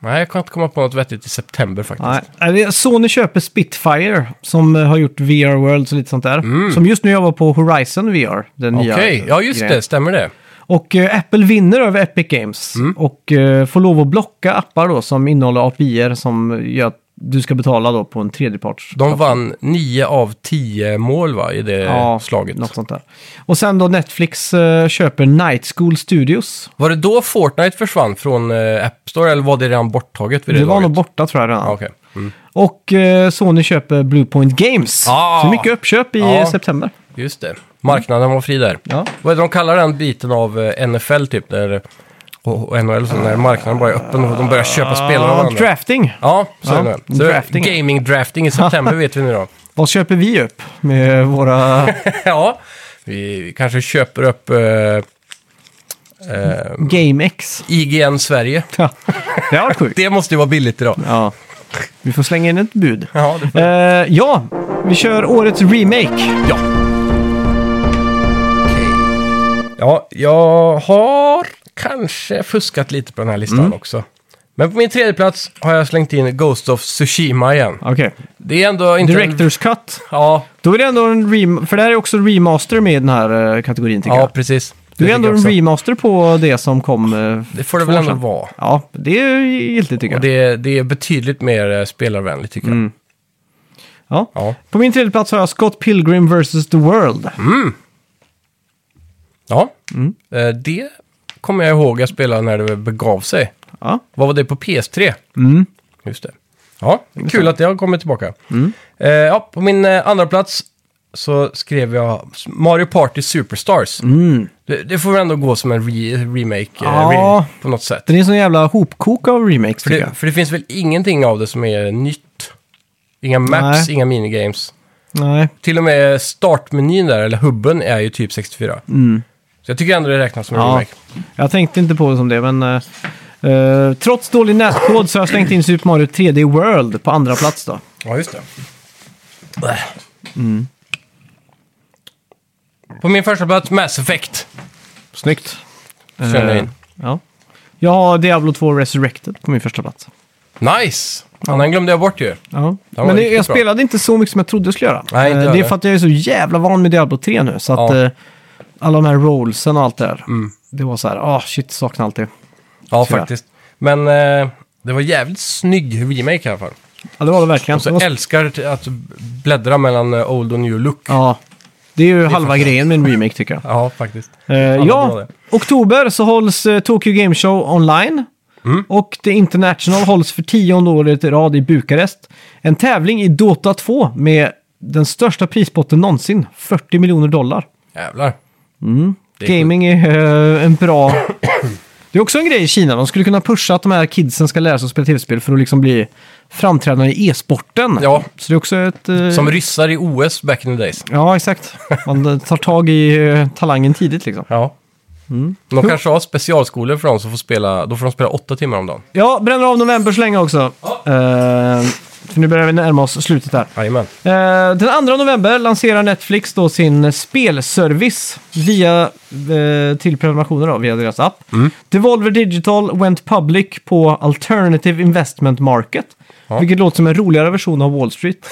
Nej, jag kan inte komma på något vettigt i september faktiskt.
Nej, Nej, det är Sony köper Spitfire som eh, har gjort VR Worlds och lite sånt där. Som just nu jobbar på Horizon VR, den
Mm. Okej,
nya. eh,
ja just
grejen.
det, stämmer det.
Och eh, Apple vinner över Epic Games
Mm.
och eh, får lov att blocka appar då som innehåller api som gör att du ska betala då på en tredjeparts...
De vann 9 av 10 mål va, i det
Ja,
slaget.
Något sånt där. Och sen då Netflix eh, köper Night School Studios.
Var det då Fortnite försvann från eh, App Store eller var det redan borttaget vid
Det,
det,
var
laget?
nog borta tror jag redan.
Ja, okej. mm.
Och eh, Sony köper Bluepoint Games.
Ah!
Så mycket uppköp i
Ja.
eh, september.
Just det. Marknaden var fri där.
Ja.
Vad är det de kallar den biten av eh, NFL typ? Där, och och NHL, så när marknaden bara är öppen och de börjar köpa spelare av
Ah,
varandra.
drafting.
Ja, så
Ja,
är det. Så
drafting.
Gaming-drafting i september vet vi nu då.
Vad köper vi upp med våra
ja, vi kanske köper upp eh, eh,
GameX?
IGN Sverige.
Ja, det har varit sjukt.
Det måste ju vara billigt idag.
Ja. Vi får slänga in ett bud.
Ja, det
Eh, ja, vi kör årets remake.
ja. Okej. Ja, jag har kanske fuskat lite på den här listan
Mm.
också. Men på min tredje plats har jag slängt in Ghost of Tsushima igen.
Okej.
Det är ändå inte... en-
Directors cut.
Ja,
Då är det ändå en rem... För det här är också remaster med i den här eh, kategorin tycker
ja,
jag.
precis.
Du är
tycker
ändå
jag
en
också.
remaster på det som kom eh,
Det får det
två
väl
år
ändå
sedan.
vara.
Ja, det är giltigt tycker
Och
jag.
det, det är betydligt mer eh, spelarvänligt tycker jag.
Mm. Ja.
Ja.
På min tredje plats har jag Scott Pilgrim vs. The World.
Mm. Ja,
Mm.
Eh, det kommer jag ihåg jag spelade när det begav sig.
Ja.
Vad var det på PS3?
Mm.
Just det. Ja, kul att det har kommit tillbaka.
Mm.
Eh, ja, på min eh, andra plats så skrev jag Mario Party Superstars. Det, det får väl ändå gå som en re- remake eh,
Mm. Ja.
re- på något sätt.
Den är en sån jävla hopkok av remakes
För
tycker
det,
jag.
för det finns väl ingenting av det som är nytt? Inga maps,
Nej.
inga minigames.
Nej.
Till och med startmenyn där, eller hubben, är ju typ 64. Så jag tycker ändå det räknas som en
Mm. Ja,
remake.
jag tänkte inte på det som det, men... eh, eh, trots dålig nätkod så har jag slängt in Super Mario 3D World på andra plats då.
Ja, just det. Mm. På min första plats, Mass Effect.
Snyggt.
Känner jag in.
Ja. Jag har Diablo 2 Resurrected på min första plats.
Nice! Eh. Ja. Den glömde jag bort ju.
Ja.
var
Men det,
riktigt
jag
bra.
spelade inte så mycket som jag trodde jag skulle göra.
Nej, inte
Eh,
jag
det är
heller.
för att jag är så jävla van med Diablo 3 nu. Så att
Ja. Mm.
eh, alla de här rollsen och allt det där. Det var så här, ah shit, saknar allt det.
Ja,
Tyvärr.
faktiskt. Men eh, det var jävligt snygg remake i alla fall.
Ja, det var det verkligen.
Så
Det var-
jag älskar t- att bläddra mellan eh, old och new look. Ja,
ja. Det är ju halva grejen med en remake tycker jag.
faktiskt.
Eh,
Alla bra
ja,
det.
oktober så hålls eh, Tokyo Game Show online.
Mm.
Och The International hålls för tionde året i rad i Bukarest. En tävling i Dota 2 med den största prispotten någonsin, 40 miljoner dollar.
Jävlar. Det är sjukt.
Gaming är eh, en bra... Det är också en grej i Kina, de skulle kunna pusha att de här kidsen ska lära sig att spela tv-spel för att liksom bli framträdande i e-sporten.
Ja.
Så det är också ett... eh,
Som ryssar i OS back in the days.
Ja, exakt. Man tar tag i eh, talangen tidigt liksom.
Ja. Mm. De kanske har specialskolor för dem som får spela, då får de spela åtta timmar om dagen.
Ja, bränner av november så länge också. Eh, För nu börjar vi närma oss slutet här.
Jajamän.
Eh, Den 2 november lanserar Netflix då sin spelservice via, eh, till prenumerationer då, via deras app. Devolver Digital went public på Alternative Investment Market, vilket låter som en roligare version av Wall Street.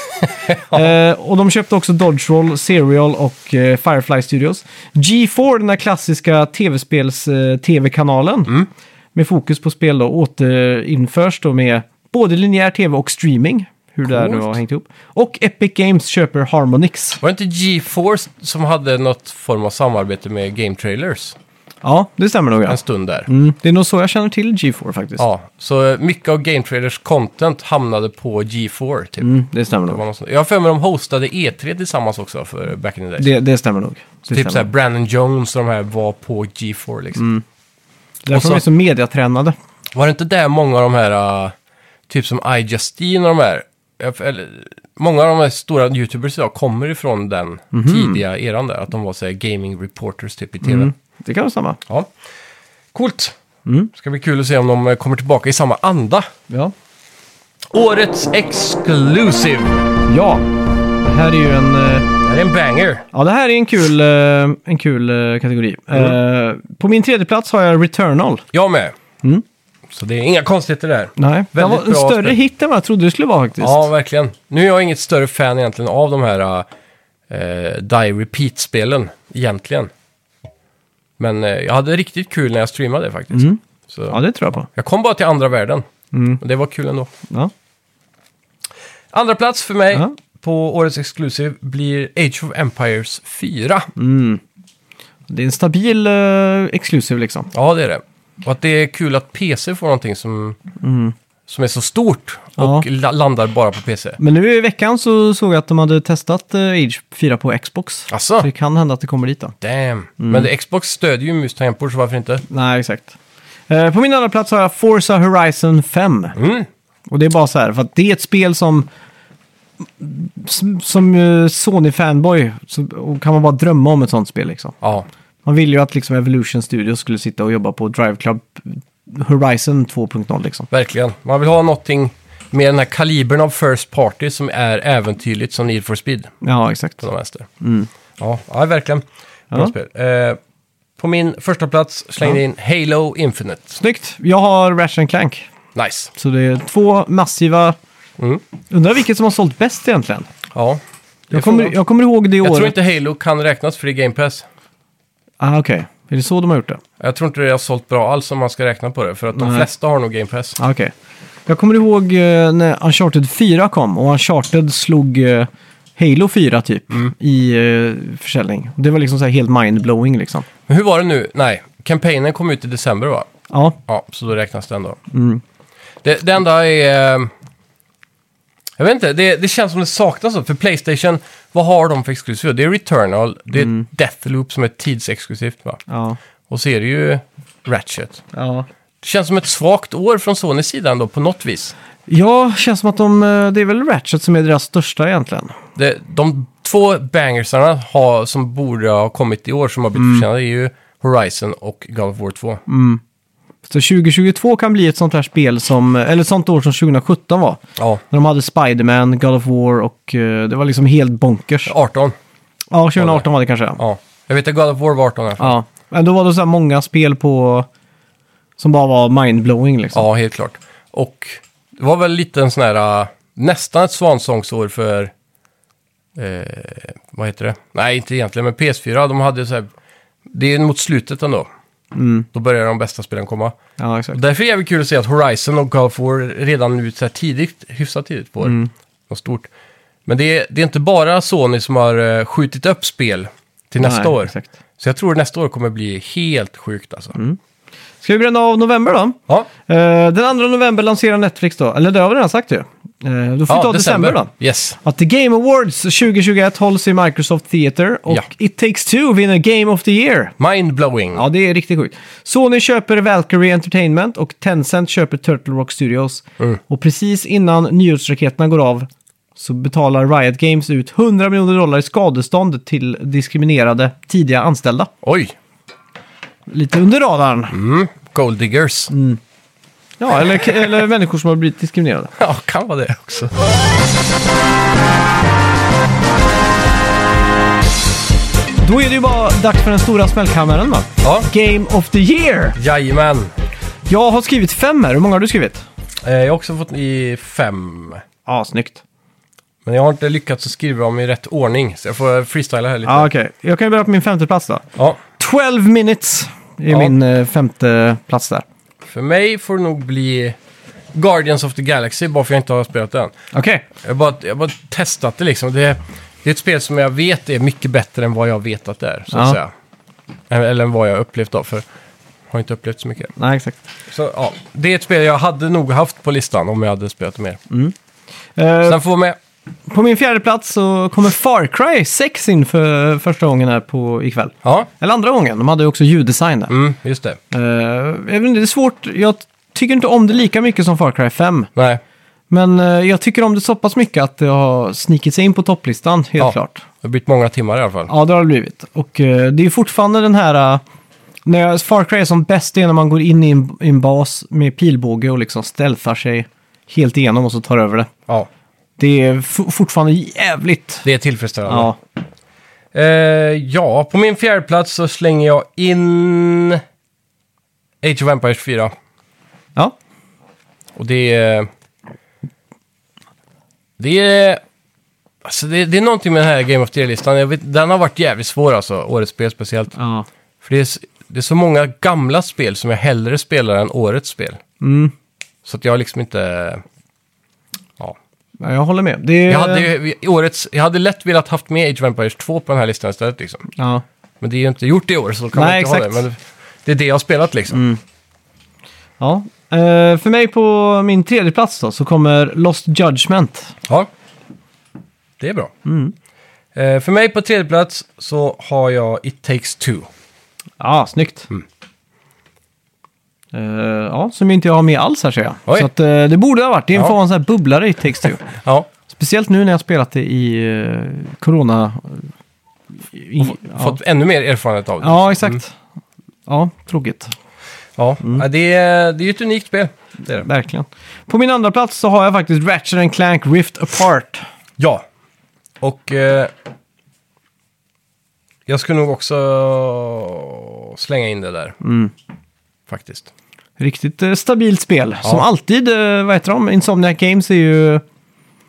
Eh, och de köpte också Dodge Roll, Serial och eh, Firefly Studios. G4, den här klassiska tv-spels-tv-kanalen,
Mm.
med fokus på spel då, återinförs då med både linjär tv och streaming. Hur det där nu
Coolt.
har hängt ihop. Och Epic Games köper Harmonix.
Var det inte GeForce som hade något form av samarbete med Game Trailers
Ja, det stämmer nog. Ja.
en stund där?
Mm. Det är nog så jag känner till G4 faktiskt.
Ja, så eh, mycket av Game Trailers content hamnade på G4 typ.
Mm, det stämmer
Det var
nog.
något sånt. Jag har för mig de hostade E3 tillsammans också för eh, back in the days.
Det, det stämmer nog. Det
typ
stämmer. Mm.
så här Brandon Jones och de här var på G4 liksom. och
Därför
så-
de är så mediatränade.
Var det inte där många av de här, uh, typ som iJustine och de här, eh, eller, många av de här stora YouTubers idag kommer ifrån den tidiga eran där, att de var så här gaming reporters typ i tv.
Mhm. Mm. Det kan vara samma.
Ja. Coolt! Ska bli kul att se om de eh, kommer tillbaka i samma anda.
Ja.
Årets exclusive!
ja, det här är ju en... eh,
Det här är en banger.
Ja, det här är en kul, eh, en kul eh, kategori. Eh, På min tredje plats har jag Returnal.
Jag med.
Mm.
Så det är inga konstigheter där.
Nej, det
Väldigt
var en
bra
större
spel.
hit än vad jag trodde det skulle vara faktiskt.
Ja, verkligen. Nu är jag inget större fan egentligen av de här eh, Die Repeat-spelen, egentligen. Men eh, jag hade riktigt kul när jag streamade faktiskt. Så,
Mm. ja, Mm. det tror jag på.
Jag kom bara till andra världen. Och det var kul ändå.
Ja.
Andra plats för mig
Ja.
på årets exklusiv blir Age of Empires 4.
Det är en stabil eh, exclusive liksom.
Ja, det är det. Och att det är kul att PC får någonting som, som är så stort
Mm. Ja.
och la- landar bara på PC.
Men nu i veckan så såg jag att de hade testat eh, Age 4 på Xbox.
Asså?
Så det kan hända att det kommer dit då.
Alltså, Damn.
Mm.
Men det, Xbox stödjer ju mus så varför inte?
Nej, exakt. Eh, På min andra plats har jag Forza Horizon 5.
Mm.
Och det är bara så här, för att det är ett spel som... Som, som eh, Sony-fanboy så och kan man bara drömma om ett sånt spel liksom.
Ja.
Man ville ju att liksom Evolution Studios skulle sitta och jobba på Drive Club Horizon 2.0 liksom.
Verkligen. Man vill ha någonting med den här kalibern av First Party som är äventyrligt som Need for Speed
Ja, exakt.
på de vänster. Ja, ja, verkligen. Bra
Mm. Ja.
spel. Eh, på min första plats slängde jag in Halo Infinite.
Snyggt! Jag har Ratchet Clank.
Nice.
Så det är två massiva...
Mm.
Undrar vilket som har sålt bäst egentligen.
Ja. Det
Jag
får man-
kommer, jag kommer ihåg det
jag
året.
tror inte Halo kan räknas för det är Game Pass.
Ah, okej. Är det så de har gjort det?
Jag tror inte det har sålt bra alls om man ska räkna på det, för att de
Nej.
flesta har nog Game Pass.
Ah, okej. Jag kommer ihåg eh, när Uncharted 4 kom och Uncharted slog eh, Halo 4 typ
Mm.
i eh, försäljning. Det var liksom så här helt mindblowing liksom.
Men hur var det nu? Nej, kampanjen kom ut i december va?
Ja,
Ja, så då räknas den då.
Mm.
Det, det enda är... eh, Jag vet inte, det, det känns som det saknas något. För Playstation, vad har de för exklusiv? Det är Returnal, det är Deathloop som är tidsexklusivt va?
Mm. ja,
Och så är det ju Ratchet.
ja.
Det känns som ett svagt år från Sonys sida ändå på något vis.
Ja, känns som att de, eh, det är väl Ratchet som är deras största egentligen.
Det, de två bangersarna har, som borde ha kommit i år som har blivit försenade är ju Horizon och God of War 2.
Så 2022 kan bli ett sånt här spel som, eh, eller ett sånt år som 2017 var.
Ja,
När de hade Spider-Man, God of War och eh, det var liksom helt bonkers. Ja,
18.
2018 var det kanske. Ja.
Ja. Jag vet att God of War var 18 i alla fall.
Men då var det så här många spel på som bara var mindblowing liksom.
Ja, helt klart. Och det var väl lite en sån här, äh, nästan ett svansångsår för, eh, vad heter det? Nej, inte egentligen, men PS4, de hade så här, det är mot slutet ändå. Då börjar de bästa spelen komma.
Ja,
Och
exakt.
därför är det jävligt kul att se att Horizon och God of War redan nu så här tidigt, hyfsat tidigt på mm. något stort. Men det är, det är inte bara Sony som har eh, skjutit upp spel till nästa
Nej,
år.
Exakt. Mm.
Så jag tror nästa år kommer bli helt sjukt alltså.
Ska vi bränna av november då?
Ja,
Eh, den 2 november lanserar Netflix då, eller det har vi redan sagt ju. Eh, då får vi ta december då.
Yes.
Att The Game Awards 2021 hålls i Microsoft Theater och
Ja.
It Takes Two vinner Game of the Year.
Mindblowing.
Ja, det är riktigt sjukt. Sony köper Valkyrie Entertainment och Tencent köper Turtle Rock Studios.
Mm.
Och precis innan nyhetsraketerna går av så betalar Riot Games ut 100 miljoner dollar i skadestånd till diskriminerade tidiga anställda.
Oj, Mm.
Lite under radarn. Mm.
Gold Diggers.
Ja, eller, eller människor som har blivit diskriminerade.
Ja, kan vara det också.
Då är det ju bara dags för den stora smällkammaren va?
Ja,
Game of the year!
jajamän.
Jag har skrivit fem här, hur många har du skrivit?
Eh, Jag har också fått i fem.
Ja, snyggt.
Men jag har inte lyckats att skriva dem i rätt ordning, så jag får freestyla här lite.
Ja, okej. Jag kan ju börja på min femte plats då.
Ja,
12 minutes är
Ja.
min eh, femte plats där.
för mig får det nog bli Guardians of the Galaxy, bara för jag inte har spelat den.
Okej.
Jag har bara, jag har bara testat det liksom. Det, det är ett spel som jag vet är mycket bättre än vad jag vet att det är, så
Ja.
att säga. Eller eller än vad jag har upplevt av, för jag har inte upplevt så mycket.
Nej, exakt.
Så ja, det är ett spel jag hade nog haft på listan om jag hade spelat det mer.
Eh,
Sen får med,
på min fjärde plats så kommer Far Cry 6 in för första gången här på ikväll.
ja,
Eller andra gången, de hade ju också ljuddesign där.
mm, just det.
Eh, jag vet inte, det är svårt, jag tycker inte om det lika mycket som Far Cry 5.
Nej,
Men eh, jag tycker om det så pass mycket att det har snikit sig in på topplistan, helt
Ja.
klart.
det har blivit många timmar i alla fall.
Ja, det har det blivit. Och eh, det är fortfarande den här... eh, när jag, Far Cry är som bäst det är när man går in i en, i en bas med pilbåge och liksom stealthar sig helt igenom och så tar över det.
Ja,
Det är f- fortfarande jävligt...
det är tillfredsställande.
Ja,
Eh, ja, på min fjärde plats så slänger jag in Age of Empires 4.
ja.
Och det är... Det är... Alltså det, det är någonting med den här Game of the Year-listan. Jag vet, Den har varit jävligt svår alltså, årets spel speciellt.
ja.
För det är, s- det är så många gamla spel som jag hellre spelar än årets spel.
Mm.
Så att jag har liksom inte... Ja.
ja jag håller med. Det är,
Jag hade, ju- i årets, jag hade lätt velat haft med Age of Empires 2 på den här listan istället liksom.
ja.
Men det är ju inte gjort i år så då kan
Nej,
man inte
exakt.
ha det. Men det är det jag har spelat liksom.
ja. Eh, för mig på min tredje plats då, så kommer Lost Judgment.
Ja, det är bra. Eh, för mig på tredje plats så har jag It takes two.
Ja, snyggt.
Mm.
Eh, ja, som inte jag har med alls här ser jag.
Oj.
Så att, eh, det borde ha varit. Det är en
Ja.
form av sån här bubblare i Takes Two.
Ja,
Speciellt nu när jag spelat det i eh, corona... I, ja.
fått Mm. ännu mer erfarenhet av det.
ja, exakt. Ja, tråkigt.
Ja, ja, det, är, det är ju ett unikt spel. Mm. Det är det.
Verkligen. På min andra plats så har jag faktiskt Ratchet and Clank Rift Apart.
Ja, och eh, jag skulle nog också slänga in det där. Faktiskt.
Riktigt eh, stabilt spel.
Ja.
Som alltid, eh, vad heter de? Insomniac Games är ju...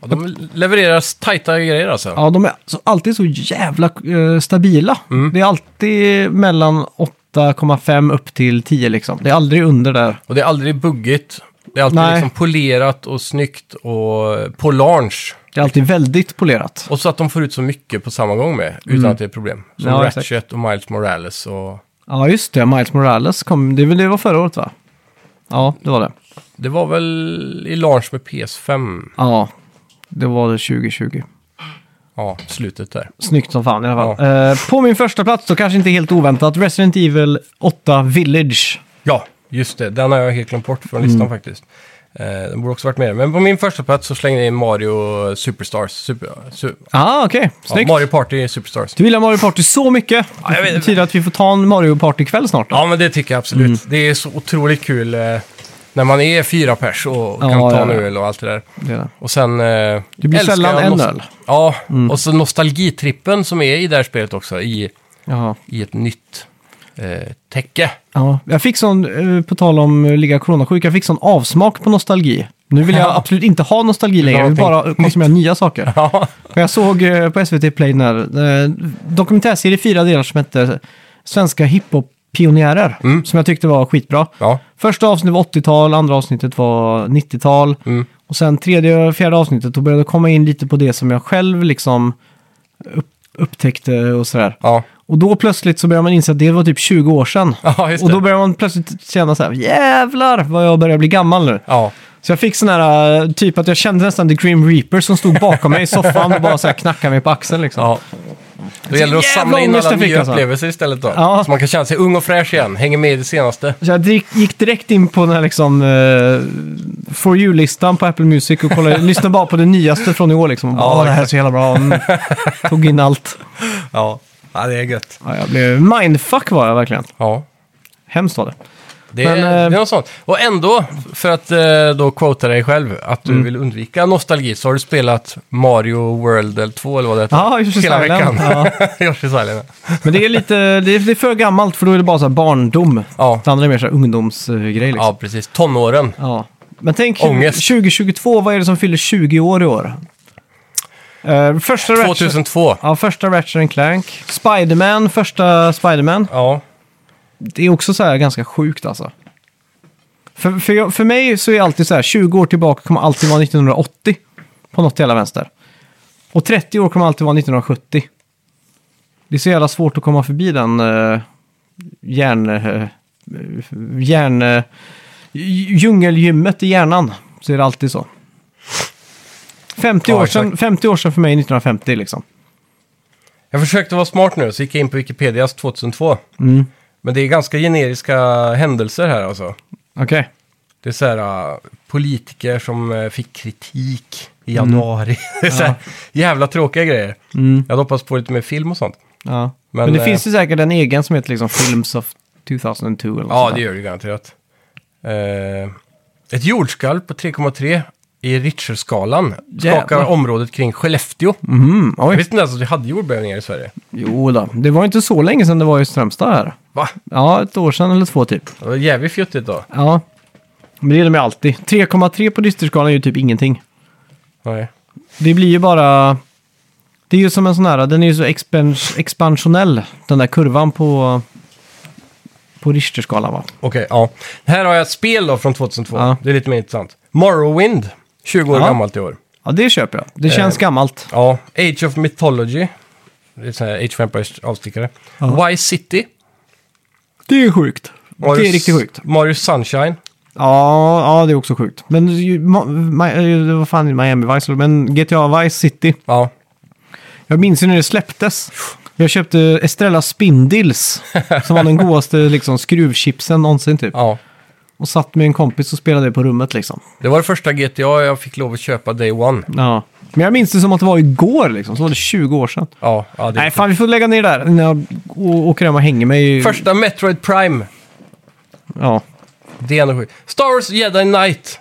Ja, de levererar tajta grejer alltså. Ja,
Ja, de är så, alltid så jävla eh, stabila.
Mm.
Det är alltid mellan 8,5 upp till 10 liksom. Det är aldrig under där.
Och det är aldrig buggigt. Det är alltid
Nej.
liksom polerat och snyggt och på launch.
Det är alltid väldigt polerat.
Och så att de får ut så mycket på samma gång med, utan att det är problem. Som
Mm. Ja,
Ratchet och Miles Morales och...
Ja, just det. Miles Morales kom. Det, var- det var förra året va? Ja, det var det.
Det var väl i launch med PS5,
Ja, det var det 2020.
ja, slutet där.
Snyggt som fan i alla fall. Eh, på min första plats då, kanske inte helt oväntat, Resident Evil 8 Village.
Ja, just det. Den har jag helt glömt bort från
Mm.
listan faktiskt. Eh, den borde också varit med. Men på min första plats så slängde jag in Mario Superstars. Super, su,
Ah, okej.
ja,
Snyggt.
Mario Party Superstars.
Du gillar Mario Party så mycket.
jag vet-
Det betyder att vi får ta en Mario Party-kväll snart då.
Ja, men det tycker jag absolut.
Mm.
Det är så otroligt kul eh, när man är fyra pers och kan
Ja,
ta
ja,
en
ja.
öl och allt det där.
Det är det.
Och sen... Eh,
Det blir
älskar
sällan
jag
en
nos-
öl. Mm.
Ja, och så nostalgitrippen som är i det här spelet också, i,
Jaha.
i ett nytt eh, täcke.
Ja, jag fick sån, eh, på tal om eh, ligga coronasjuk, jag fick sån avsmak på nostalgi. Nu vill jag
Ja.
absolut inte ha nostalgi längre, jag vill bara konsumera nya saker.
Ja,
Men jag såg eh, på SVT Play den här eh, dokumentärserie i fyra delar som hette Svenska hiphop-pionjärer,
Mm.
som jag tyckte var skitbra.
ja.
Första avsnittet var 80-tal, andra avsnittet var 90-tal.
Mm.
Och sen tredje och fjärde avsnittet, då började jag komma in lite på det som jag själv liksom upp, upptäckte och sådär.
ja.
Och då plötsligt så börjar man inse att det var typ 20 år sedan.
Ja, just
och
det.
då börjar man plötsligt känna så här, jävlar vad jag börjar bli gammal nu.
ja.
Så jag fick sån här, eh, typ att jag kände nästan The Grim Reaper som stod bakom mig i soffan och bara så här knackade mig på axeln liksom.
Ja. Då gäller det att
jävla
samla in
ångest
alla
jag fick,
nya
alltså.
upplevelser istället då.
Ja.
Så man kan känna sig ung och fräsch igen, hänger med i det senaste.
Så jag direkt- gick direkt in på den här liksom, eh, For You-listan på Apple Music och kollade, lyssnade bara på det nyaste från i år liksom. Och bara,
Ja,
"Åh, det här är så jävla bra. Mm. Tog in allt.
Ja, ja det är gött.
Ja, jag blev mindfuck var jag verkligen.
Ja.
Hemskt var det.
Det,
Men,
är,
eh,
det är något sånt. Och ändå, för att eh, då quota dig själv, att
Mm.
du vill undvika nostalgi, så har du spelat Mario World 2 eller vad det heter.
Ja, Yoshi's
Hela
Island.
veckan. Yoshi's Island.
Men det är lite, det är, det är för gammalt för då är det bara så här barndom.
Ja.
Det andra är mer så här ungdomsgrej liksom.
ja, precis. Tonåren.
Ja. Men tänk
Ångest.
2022, vad är det som fyller 20 år i år? Eh, första Ratchet,
2002.
ja, första Ratchet and Clank. Spiderman, första Spiderman.
Ja,
Det är också så här ganska sjukt alltså. För, för, jag, för mig så är alltid så här, 20 år tillbaka kommer alltid vara 1980. På något jävla vänster. Och 30 år kommer alltid vara 1970. Det är så jävla svårt att komma förbi den uh, järn... Uh, järn... eh, j- djungelgymmet i hjärnan. Så är det alltid så. 50,
Ja,
år,
exakt.
sedan, 50 år sedan för mig är 1950 liksom.
Jag försökte vara smart nu, så gick jag in på Wikipedias 2002.
Mm.
Men det är ganska generiska händelser här alltså.
Okej.
Det är så här äh, politiker som äh, fick kritik i
Mm.
januari. Det är så här, jävla tråkiga grejer. Jag hade hoppats på lite mer film och sånt.
Ja.
Men,
Men, det
eh,
finns ju säkert en egen som heter liksom Films of 2002 eller något
Ja,
sånt
det
där.
gör det garanterat. Eh, ett jordskalv på 3,3 i Richterskalan skakar
Jävlar.
området kring Skellefteå.
Mm,
Jag
oj.
visste inte ens att vi hade jordbävningar i Sverige.
Jo då. det var inte så länge sedan det var i Strömstad här.
Va?
Ja, ett år sedan eller två typ.
Det var jävligt fjuttigt då.
Ja. Men det är de ju alltid. 3,3 på dysterskalan är ju typ ingenting.
Nej.
Det blir ju bara... Det är ju som en sån här, den är ju så expans expansionell, den där kurvan på, på Richterskalan va?
Okej, ja. Här har jag ett spel då från 2002.
Ja.
Det är lite mer intressant. Morrowind, 20 år
Ja.
gammalt i år.
Ja, det köper jag. Det känns gammalt.
Ja, Age of Mythology. Det är sån här Age of Empires avstickare.
Ja.
Vice City.
Det är sjukt.
Mario
det är riktigt
S-
sjukt.
Mario Sunshine.
Ja, ja, det är också sjukt. Men ju- Ma- Ma- eh, vad fan är det? Miami Vice, men GTA Vice City.
Ja,
Jag minns ju när det släpptes. Jag köpte Estrella Spindles, som var den godaste liksom, skruvchipsen någonsin typ.
ja.
Och satt med en kompis och spelade det på rummet liksom.
Det var det första GTA jag fick lov att köpa day one.
Ja. Men jag minns det som att det var igår liksom, så var det 20 år sedan.
Ja, ja det är
Nej, fan vi får lägga ner det där när jag å- åker hem och hänger mig.
Första Metroid Prime.
Ja.
Det är ändå sjukt. Star Wars Jedi Knight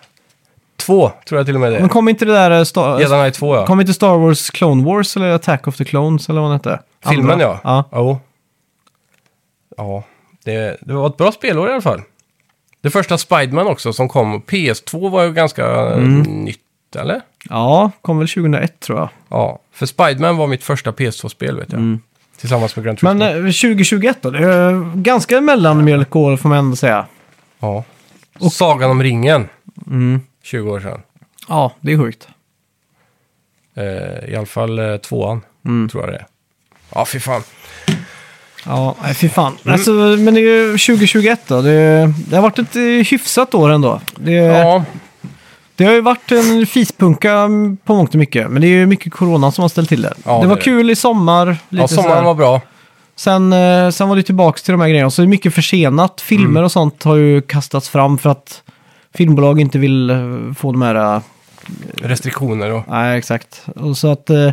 2, tror jag till och med det
Men
är.
kom inte det där... eh, Star...
Jedi Knight 2, ja.
Kom inte Star Wars Clone Wars eller Attack of the Clones eller vad den hette?
Filmen,
Andra.
ja.
ja.
Jo. Ja, det, det var ett bra spelår i alla fall. Det första Spiderman också som kom. PS2 var ju ganska eh,
Mm.
nytt, eller?
Ja, kom väl 2001 tror jag.
Ja, för Spiderman var mitt första PS2-spel, vet jag. Tillsammans med Grand Turismo.
Mm. Men eh, 2021 då? Det är eh, ganska mellanmjölkår får man ändå säga.
Ja. Och Sagan om ringen.
Mm.
20 år sedan.
Ja, det är sjukt.
Eh, I alla fall eh, tvåan,
Mm.
tror jag det är. Ja, fy fan.
Ja, nej, fy fan.
Mm.
Alltså, men det är ju 2021 då. Det, det har varit ett eh, hyfsat år ändå. Det,
Ja,
det har ju varit en fispunka mm, på mångt och mycket. Men det är ju mycket corona som har ställt till det.
Ja,
det
det
var
är det.
kul i sommar. Lite
ja sommaren
sådär.
var bra.
sen, eh, sen var det tillbaka till de här grejerna. Så det är mycket försenat. Filmer
Mm.
och sånt har ju kastats fram för att filmbolag inte vill eh, få de här... eh,
Restriktioner och...
Nej, exakt. Och så att eh,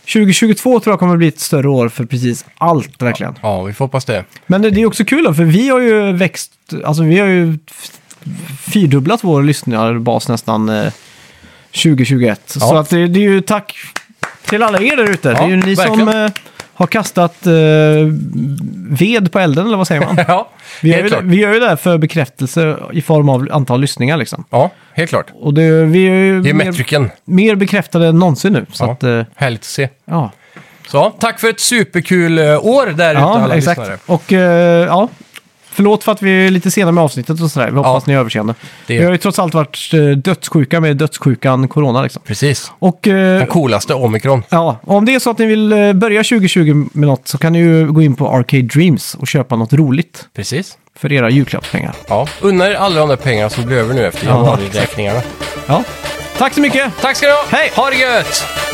2022 tror jag kommer bli ett större år för precis allt verkligen.
Ja, vi får hoppas det.
Men det, det är också kul då, för vi har ju växt, alltså vi har ju f- fyrdubblat vår lyssnarbas nästan eh, 2021. Så
Ja.
att det, det är ju tack till alla er där ute. det är ju ni som
verkligen.
eh, har kastat eh, ved på elden, eller vad säger man?
ja,
Vi gör,
helt
ju det,
klart.
vi gör ju det här för bekräftelse i form av antal lyssningar liksom.
Ja, helt klart.
Och det, vi är ju
Det är
mer,
metriken.
mer bekräftade än någonsin nu. Så
Ja.
att, eh,
Härligt att se.
ja.
Så, tack för ett superkul eh, år där ute alla lyssnare.
Och eh, ja, förlåt för att vi är lite sena med avsnittet och sådär. Vi hoppas
Ja.
ni har överseende.
Det-
Vi har ju trots allt varit eh, dödssjuka med dödssjukan corona liksom.
Precis.
Och eh,
Den coolaste, omikron.
ja, om det är så att ni vill eh, börja 2020 med något så kan ni ju gå in på Arcade Dreams och köpa något roligt
Precis.
för era julklappspengar.
Ja, unna er alla de där pengarna som blir över nu efter januariräkningarna.
Ja, tack så mycket!
Tack ska ni ha!
Hej!
Ha det gött!